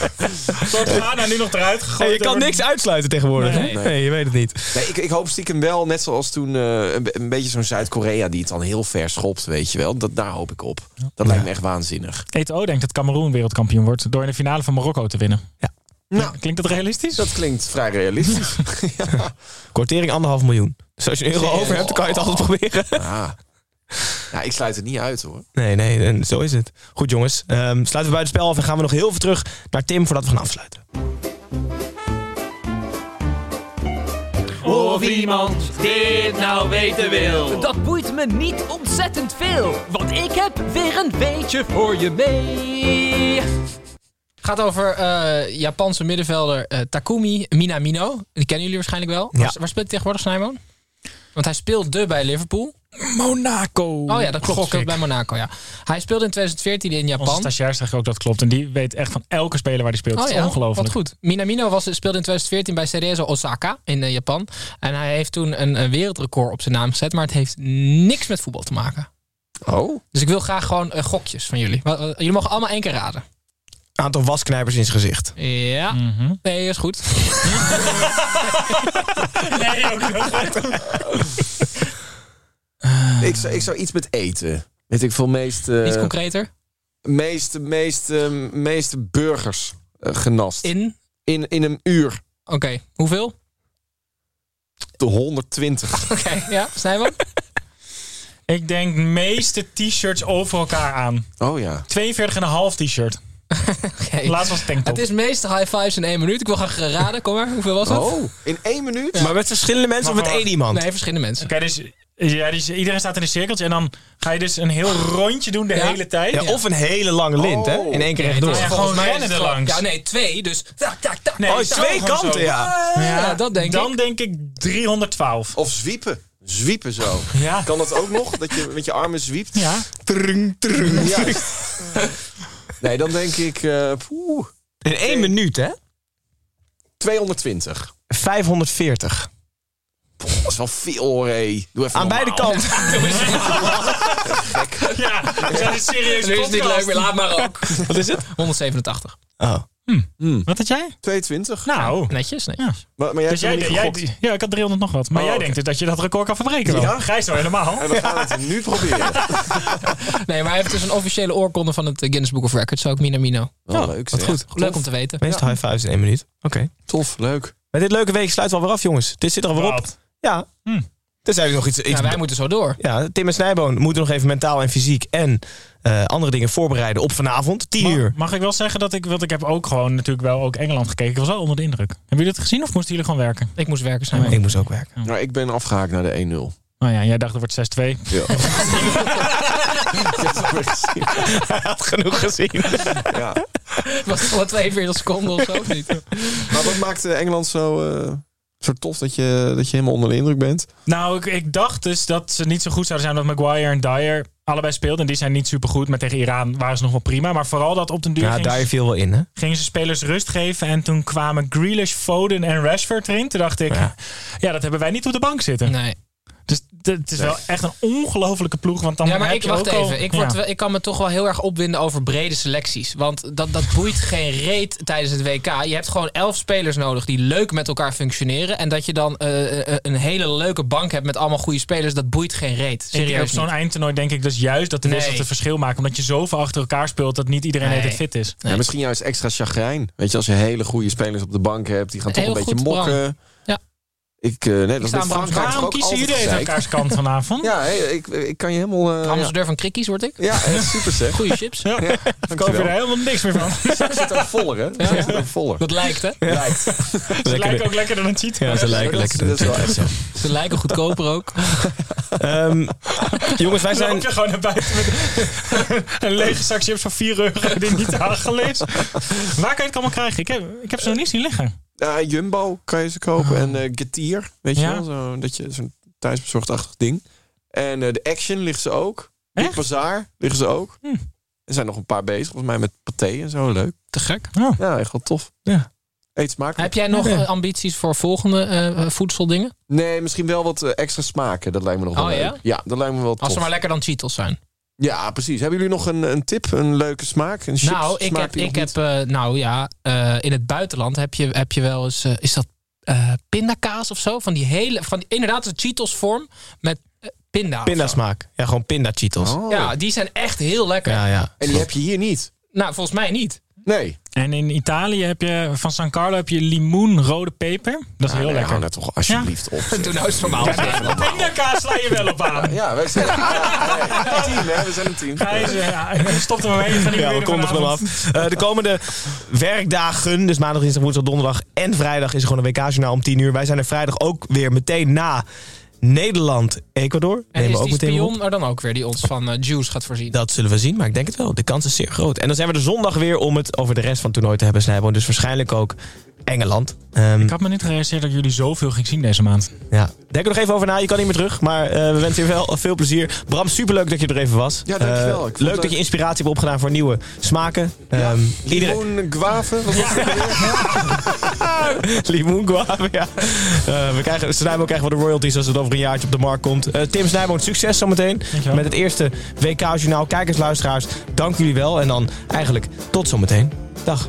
[SPEAKER 5] Wordt Ghana nu nog eruit gegooid.
[SPEAKER 1] Hey, je kan
[SPEAKER 5] door-
[SPEAKER 1] niks uitsluiten tegenwoordig.
[SPEAKER 5] Nee.
[SPEAKER 1] Nee, nee je weet het niet.
[SPEAKER 4] Nee, ik, ik hoop stiekem wel, net zoals toen eh, een, be- een beetje zo'n Zuid-Korea die het dan heel ver schopt, weet je wel. Dat, daar hoop ik op. Dat lijkt me echt waanzinnig.
[SPEAKER 5] ETO denkt dat Cameroen wereldkampioen wordt door in de finale van Marokko te winnen.
[SPEAKER 1] Ja.
[SPEAKER 4] Nou.
[SPEAKER 5] Klinkt dat realistisch?
[SPEAKER 4] Dat klinkt vrij realistisch.
[SPEAKER 1] Kortering anderhalf miljoen. Dus als je een euro over hebt, dan kan je het altijd proberen.
[SPEAKER 4] ah. Nou, ik sluit het niet uit hoor.
[SPEAKER 1] Nee, nee, en zo is het. Goed jongens, Ehm, sluiten we bij het spel af en gaan we nog heel veel terug naar Tim voordat we gaan afsluiten.
[SPEAKER 10] Of iemand dit nou weten wil.
[SPEAKER 11] Dat boeit me niet ontzettend veel, want ik heb weer een beetje voor je mee.
[SPEAKER 6] gaat over eh, Japanse middenvelder eh, Takumi Minamino. Die kennen jullie waarschijnlijk wel.
[SPEAKER 1] Ja.
[SPEAKER 6] Waar, waar speelt hij tegenwoordig Snijboon? Want hij speelde bij Liverpool.
[SPEAKER 5] Monaco.
[SPEAKER 6] Oh ja, dat klopt.
[SPEAKER 5] Gok
[SPEAKER 6] Hij speelde
[SPEAKER 5] ik.
[SPEAKER 6] bij Monaco, ja. Hij speelde in 2014 in
[SPEAKER 5] Onze
[SPEAKER 6] Japan.
[SPEAKER 5] stagiair zegt ook dat klopt. En die weet echt van elke speler waar die speelt. Het is
[SPEAKER 6] Oh wat
[SPEAKER 5] ongelooflijk.
[SPEAKER 6] goed. Minamino was, speelde in 2014 bij Cerezo Osaka in eh, Japan. En hij heeft toen een, eh, wereldrecord op zijn naam gezet. Maar het heeft niks met voetbal te maken.
[SPEAKER 4] Oh,
[SPEAKER 6] Dus ik wil graag gewoon eh, gokjes van jullie. Wa- wa- jullie mogen allemaal één keer raden.
[SPEAKER 1] Aantal wasknijpers in zijn gezicht.
[SPEAKER 6] Ja.
[SPEAKER 5] Mhm.
[SPEAKER 6] Nee, is goed.
[SPEAKER 5] Nee, ook
[SPEAKER 4] ik, zou, ik zou iets met eten. Weet ik veel, meest... eh,
[SPEAKER 6] Iets concreter.
[SPEAKER 4] meeste, meeste, meeste burgers eh, genast. In,
[SPEAKER 6] In.
[SPEAKER 4] in, een uur
[SPEAKER 6] Oké, hoeveel?
[SPEAKER 4] de 120.
[SPEAKER 6] Oké, ja, Snijboon?
[SPEAKER 5] Ik denk meeste t-shirts over elkaar aan.
[SPEAKER 4] Oh ja.
[SPEAKER 5] 42,5 t-shirt.
[SPEAKER 6] Oké.
[SPEAKER 5] Laatst was het tanktop.
[SPEAKER 6] Het is meestal high fives in één minuut. Ik wil graag eh, raden. Kom maar, hoeveel was het?
[SPEAKER 4] Oh, in één minuut?
[SPEAKER 1] Maar met verschillende mensen
[SPEAKER 5] Maar
[SPEAKER 1] of met
[SPEAKER 5] waar-
[SPEAKER 1] één iemand?
[SPEAKER 6] Nee, verschillende mensen.
[SPEAKER 5] Oké, dus, ja, dus iedereen staat in een cirkeltje en dan ga je dus een heel rondje doen de
[SPEAKER 6] Ja.
[SPEAKER 5] hele tijd.
[SPEAKER 1] Ja, of een hele lange lint, hè? In één keer rechtdoor.
[SPEAKER 5] het is Ja, gewoon
[SPEAKER 6] Volgens mij is
[SPEAKER 5] rennen
[SPEAKER 6] het
[SPEAKER 5] er
[SPEAKER 6] gewoon-
[SPEAKER 5] langs.
[SPEAKER 6] Ja, nee, twee. Dus tak, tak, tak.
[SPEAKER 5] Nee,
[SPEAKER 1] Oh,
[SPEAKER 5] het is
[SPEAKER 1] twee
[SPEAKER 5] gewoon
[SPEAKER 1] kanten,
[SPEAKER 5] zo.
[SPEAKER 1] ja.
[SPEAKER 6] Ja, dat denk
[SPEAKER 5] dan
[SPEAKER 6] ik.
[SPEAKER 5] denk ik 312.
[SPEAKER 4] Of zwiepen. Zwiepen zo.
[SPEAKER 5] Ja.
[SPEAKER 4] Kan dat ook nog? Dat je met je armen zwiept?
[SPEAKER 5] Ja.
[SPEAKER 4] Trung, trung. Juist. Nee, dan denk ik... eh, poeh,
[SPEAKER 1] In één minuut, hè?
[SPEAKER 4] 220.
[SPEAKER 1] 540.
[SPEAKER 4] Dat is wel veel, hé. Doe even
[SPEAKER 1] Aan beide
[SPEAKER 4] normaal.
[SPEAKER 1] kanten.
[SPEAKER 5] Ja, we zijn een serieus
[SPEAKER 6] Nu is het niet
[SPEAKER 5] podcast.
[SPEAKER 6] leuk meer, laat maar ook.
[SPEAKER 1] Wat is het?
[SPEAKER 6] 187.
[SPEAKER 1] Oh.
[SPEAKER 5] Wat had jij?
[SPEAKER 4] 220.
[SPEAKER 5] Nou,
[SPEAKER 6] Netjes, netjes.
[SPEAKER 4] Maar, maar jij
[SPEAKER 5] dus jij,
[SPEAKER 4] hebt hem
[SPEAKER 5] jij,
[SPEAKER 4] niet
[SPEAKER 5] ja, ik had 300 nog wat. Maar
[SPEAKER 4] Oh,
[SPEAKER 5] jij
[SPEAKER 4] oké.
[SPEAKER 5] denkt dus dat je dat record kan verbreken wel.
[SPEAKER 4] Ja.
[SPEAKER 5] Gijs wel helemaal.
[SPEAKER 4] gegokt. En we gaan het nu proberen.
[SPEAKER 6] Nee, maar hij heeft dus een officiële oorkonde van het eh, Guinness Book of Records. Zo ook Minamino.
[SPEAKER 4] Wel leuk
[SPEAKER 1] wat
[SPEAKER 4] zeg.
[SPEAKER 1] goed.
[SPEAKER 6] Leuk om te weten.
[SPEAKER 1] Meeste high fives in één minuut. Oké.
[SPEAKER 4] Tof, leuk.
[SPEAKER 1] Met dit leuke week sluiten we alweer af, jongens. Dit zit er alweer op.
[SPEAKER 5] Wat?
[SPEAKER 1] Ja.
[SPEAKER 5] Hm.
[SPEAKER 1] Dus zijn we nog iets... iets
[SPEAKER 6] Ja, Nou, wij moeten zo door.
[SPEAKER 1] ja, Tim en Snijboon moeten nog even mentaal en fysiek en eh, andere dingen voorbereiden op vanavond. 10
[SPEAKER 5] Mag,
[SPEAKER 1] uur.
[SPEAKER 5] mag ik wel zeggen dat ik, want ik heb ook gewoon natuurlijk wel ook Engeland gekeken. Ik was wel onder de indruk. Hebben jullie dat gezien of moesten jullie gewoon werken?
[SPEAKER 6] Ik moest werken, Snijboon.
[SPEAKER 1] Ik moest ook werken.
[SPEAKER 4] Nou, ik ben afgehaakt naar de 1-0.
[SPEAKER 5] Oh
[SPEAKER 6] Nou
[SPEAKER 5] ja, jij dacht het wordt 6-2.
[SPEAKER 4] Ja.
[SPEAKER 1] Hij had genoeg gezien.
[SPEAKER 4] ja.
[SPEAKER 6] Was het wel 42 seconden of zo? of niet?
[SPEAKER 4] Maar wat maakt eh, Engeland zo, eh, zo tof dat je, dat je helemaal onder de indruk bent?
[SPEAKER 5] Nou, ik, ik dacht dus dat ze niet zo goed zouden zijn omdat Maguire en Dyer allebei speelden. En die zijn niet supergoed. Maar tegen Iran waren ze nog wel prima. Maar vooral dat op den duur
[SPEAKER 1] Ja,
[SPEAKER 5] gingen
[SPEAKER 1] daar
[SPEAKER 5] ze-
[SPEAKER 1] viel wel in, hè?
[SPEAKER 5] gingen ze spelers rust geven. En toen kwamen Grealish, Foden en Rashford erin. Toen dacht ik, ja, dat hebben wij niet op de bank zitten.
[SPEAKER 6] Nee.
[SPEAKER 5] Dus d- het is
[SPEAKER 6] Nee.
[SPEAKER 5] wel echt een ongelofelijke ploeg. Want dan
[SPEAKER 6] ja, maar
[SPEAKER 5] heb
[SPEAKER 6] ik
[SPEAKER 5] je
[SPEAKER 6] wacht
[SPEAKER 5] ook al-
[SPEAKER 6] even. Ik, word
[SPEAKER 5] Ja.
[SPEAKER 6] wel- ik kan me toch wel heel erg opwinden over brede selecties. Want dat, dat boeit geen reet tijdens het WK. Je hebt gewoon elf spelers nodig die leuk met elkaar functioneren. En dat je dan eh, eh, een hele leuke bank hebt met allemaal goede spelers, dat boeit geen reet.
[SPEAKER 5] Ik, op
[SPEAKER 6] Serieus.
[SPEAKER 5] zo'n
[SPEAKER 6] niet.
[SPEAKER 5] eindtoernooi denk ik dus juist dat de
[SPEAKER 6] Nee.
[SPEAKER 5] wissels het verschil maken. Omdat je zoveel achter elkaar speelt dat niet iedereen
[SPEAKER 6] Nee.
[SPEAKER 5] het fit is.
[SPEAKER 4] Ja, misschien juist extra chagrijn. Weet je, als je hele goede spelers op de bank hebt, die gaan toch
[SPEAKER 5] Heel
[SPEAKER 4] een beetje
[SPEAKER 5] goed,
[SPEAKER 4] mokken.
[SPEAKER 5] Bram. Ja.
[SPEAKER 4] Ik, eh, nee, dat is
[SPEAKER 6] sta
[SPEAKER 4] met
[SPEAKER 6] aan Bram's
[SPEAKER 4] Frankrijk
[SPEAKER 6] kant.
[SPEAKER 4] toch
[SPEAKER 6] Waarom
[SPEAKER 4] ook
[SPEAKER 6] kiezen
[SPEAKER 4] altijd
[SPEAKER 6] jullie uit
[SPEAKER 4] gezeik?
[SPEAKER 6] elkaars kant
[SPEAKER 5] vanavond?
[SPEAKER 4] Ja, hey, ik, ik kan je helemaal... eh, ja.
[SPEAKER 6] Ambassadeur van Krikkies word ik.
[SPEAKER 4] Ja, eh, super zeg.
[SPEAKER 6] Goede chips.
[SPEAKER 4] Ja,
[SPEAKER 5] Ik koop er helemaal niks meer van.
[SPEAKER 4] Zak zit ook voller, hè? Zak zit ook voller.
[SPEAKER 6] Dat lijkt, hè?
[SPEAKER 4] Lijkt.
[SPEAKER 5] Ze lijken ook lekkerder dan cheat.
[SPEAKER 1] Ja, ze lijken
[SPEAKER 4] Dat is-
[SPEAKER 1] lekkerder.
[SPEAKER 4] dat is wel echt zo.
[SPEAKER 6] Ze lijken goedkoper ook.
[SPEAKER 1] Ehm, jongens, wij
[SPEAKER 5] Dan
[SPEAKER 1] zijn...
[SPEAKER 5] loop je gewoon naar buiten met een lege zak chips van 4 euro die niet te hagelen is. Waar kan je het allemaal krijgen? Ik heb, ik heb ze nog niet zien liggen.
[SPEAKER 4] Ja, Ah, Jumbo kan je ze
[SPEAKER 6] Oh.
[SPEAKER 4] kopen. En eh Getier, weet je
[SPEAKER 5] Ja.
[SPEAKER 4] wel? Zo, dat je zo'n thuisbezorgdachtig ding. En eh, de Action ligt ze ook. Big Bazaar liggen ze ook.
[SPEAKER 6] Hm.
[SPEAKER 4] Er zijn nog een paar bezig, volgens mij met paté en zo. Leuk.
[SPEAKER 6] Te gek.
[SPEAKER 4] Ja, echt wel tof.
[SPEAKER 5] Ja.
[SPEAKER 4] Eet smakelijk.
[SPEAKER 6] Heb jij nog eh, ambities voor volgende eh, voedseldingen?
[SPEAKER 4] Nee, misschien wel wat eh, extra smaken. Dat lijkt me nog wel
[SPEAKER 6] Oh, ja?
[SPEAKER 4] leuk. Ja, dat lijkt me wel tof.
[SPEAKER 6] Als ze maar lekker dan Cheetos zijn.
[SPEAKER 4] Ja, precies. Hebben jullie nog een, een tip? Een leuke smaak? Een chips
[SPEAKER 6] nou, ik heb, ik heb eh, nou ja, eh, in het buitenland heb je, heb je wel eens, eh, is dat eh, pindakaas of zo? Van die hele, van die, inderdaad, een Cheetos vorm met eh, pinda. of zo.
[SPEAKER 1] Pindasmaak. Ja, gewoon pindacheetos.
[SPEAKER 12] Oh.
[SPEAKER 6] Ja, die zijn echt heel lekker.
[SPEAKER 1] Ja, ja.
[SPEAKER 4] En die heb je hier niet?
[SPEAKER 6] Nou, volgens mij niet.
[SPEAKER 4] Nee.
[SPEAKER 5] En in Italië heb je van San Carlo heb je limoen rode peper. Dat is heel
[SPEAKER 4] nee,
[SPEAKER 5] lekker.
[SPEAKER 4] hou daar toch alsjeblieft op.
[SPEAKER 6] Doe nou eens normaal.
[SPEAKER 5] Pindakaas sla je wel op aan.
[SPEAKER 4] Ja, wij zijn, een team, hè? We zijn een team.
[SPEAKER 5] Gijs, eh, ja, stop er maar mee.
[SPEAKER 1] Ja, we kondigen hem af. Eh, de komende werkdagen, dus maandag, dinsdag, woensdag, donderdag en vrijdag... is er gewoon een WK-journaal om 10 uur. Wij zijn er vrijdag ook weer meteen na Nederland, Ecuador.
[SPEAKER 6] En
[SPEAKER 1] Nemen we
[SPEAKER 6] is
[SPEAKER 1] ook
[SPEAKER 6] die
[SPEAKER 1] meteen weer op.
[SPEAKER 6] spion er dan ook weer die ons van eh, juice gaat voorzien?
[SPEAKER 1] Dat zullen we zien, maar ik denk het wel. De kans is zeer groot. En dan zijn we er zondag weer om het over de rest van het toernooi te hebben, Snijboon. Dus waarschijnlijk ook Engeland. Ehm,
[SPEAKER 5] Ik had me niet gerealiseerd dat jullie zoveel ging zien deze maand.
[SPEAKER 1] ja. Denk er nog even over na. Je kan niet meer terug. Maar eh, we wensen je wel veel plezier. Bram, superleuk dat je er even was.
[SPEAKER 4] Ja, dankjewel.
[SPEAKER 1] Eh,
[SPEAKER 4] Ik vond
[SPEAKER 1] leuk
[SPEAKER 4] het-
[SPEAKER 1] dat je inspiratie hebt opgedaan voor nieuwe smaken. Ehm iedereen...
[SPEAKER 4] Limoen, guave, wat was het ook alweer?
[SPEAKER 1] Limoen guave, ja. Eh, we krijgen, Snijboon krijgt wel de royalties als het over een jaartje op de markt komt. Eh, Tim Snijboon, succes zometeen
[SPEAKER 5] Dankjewel.
[SPEAKER 1] met het eerste WK-journaal. Kijkers, luisteraars, dank jullie wel. En dan eigenlijk tot zometeen. Dag.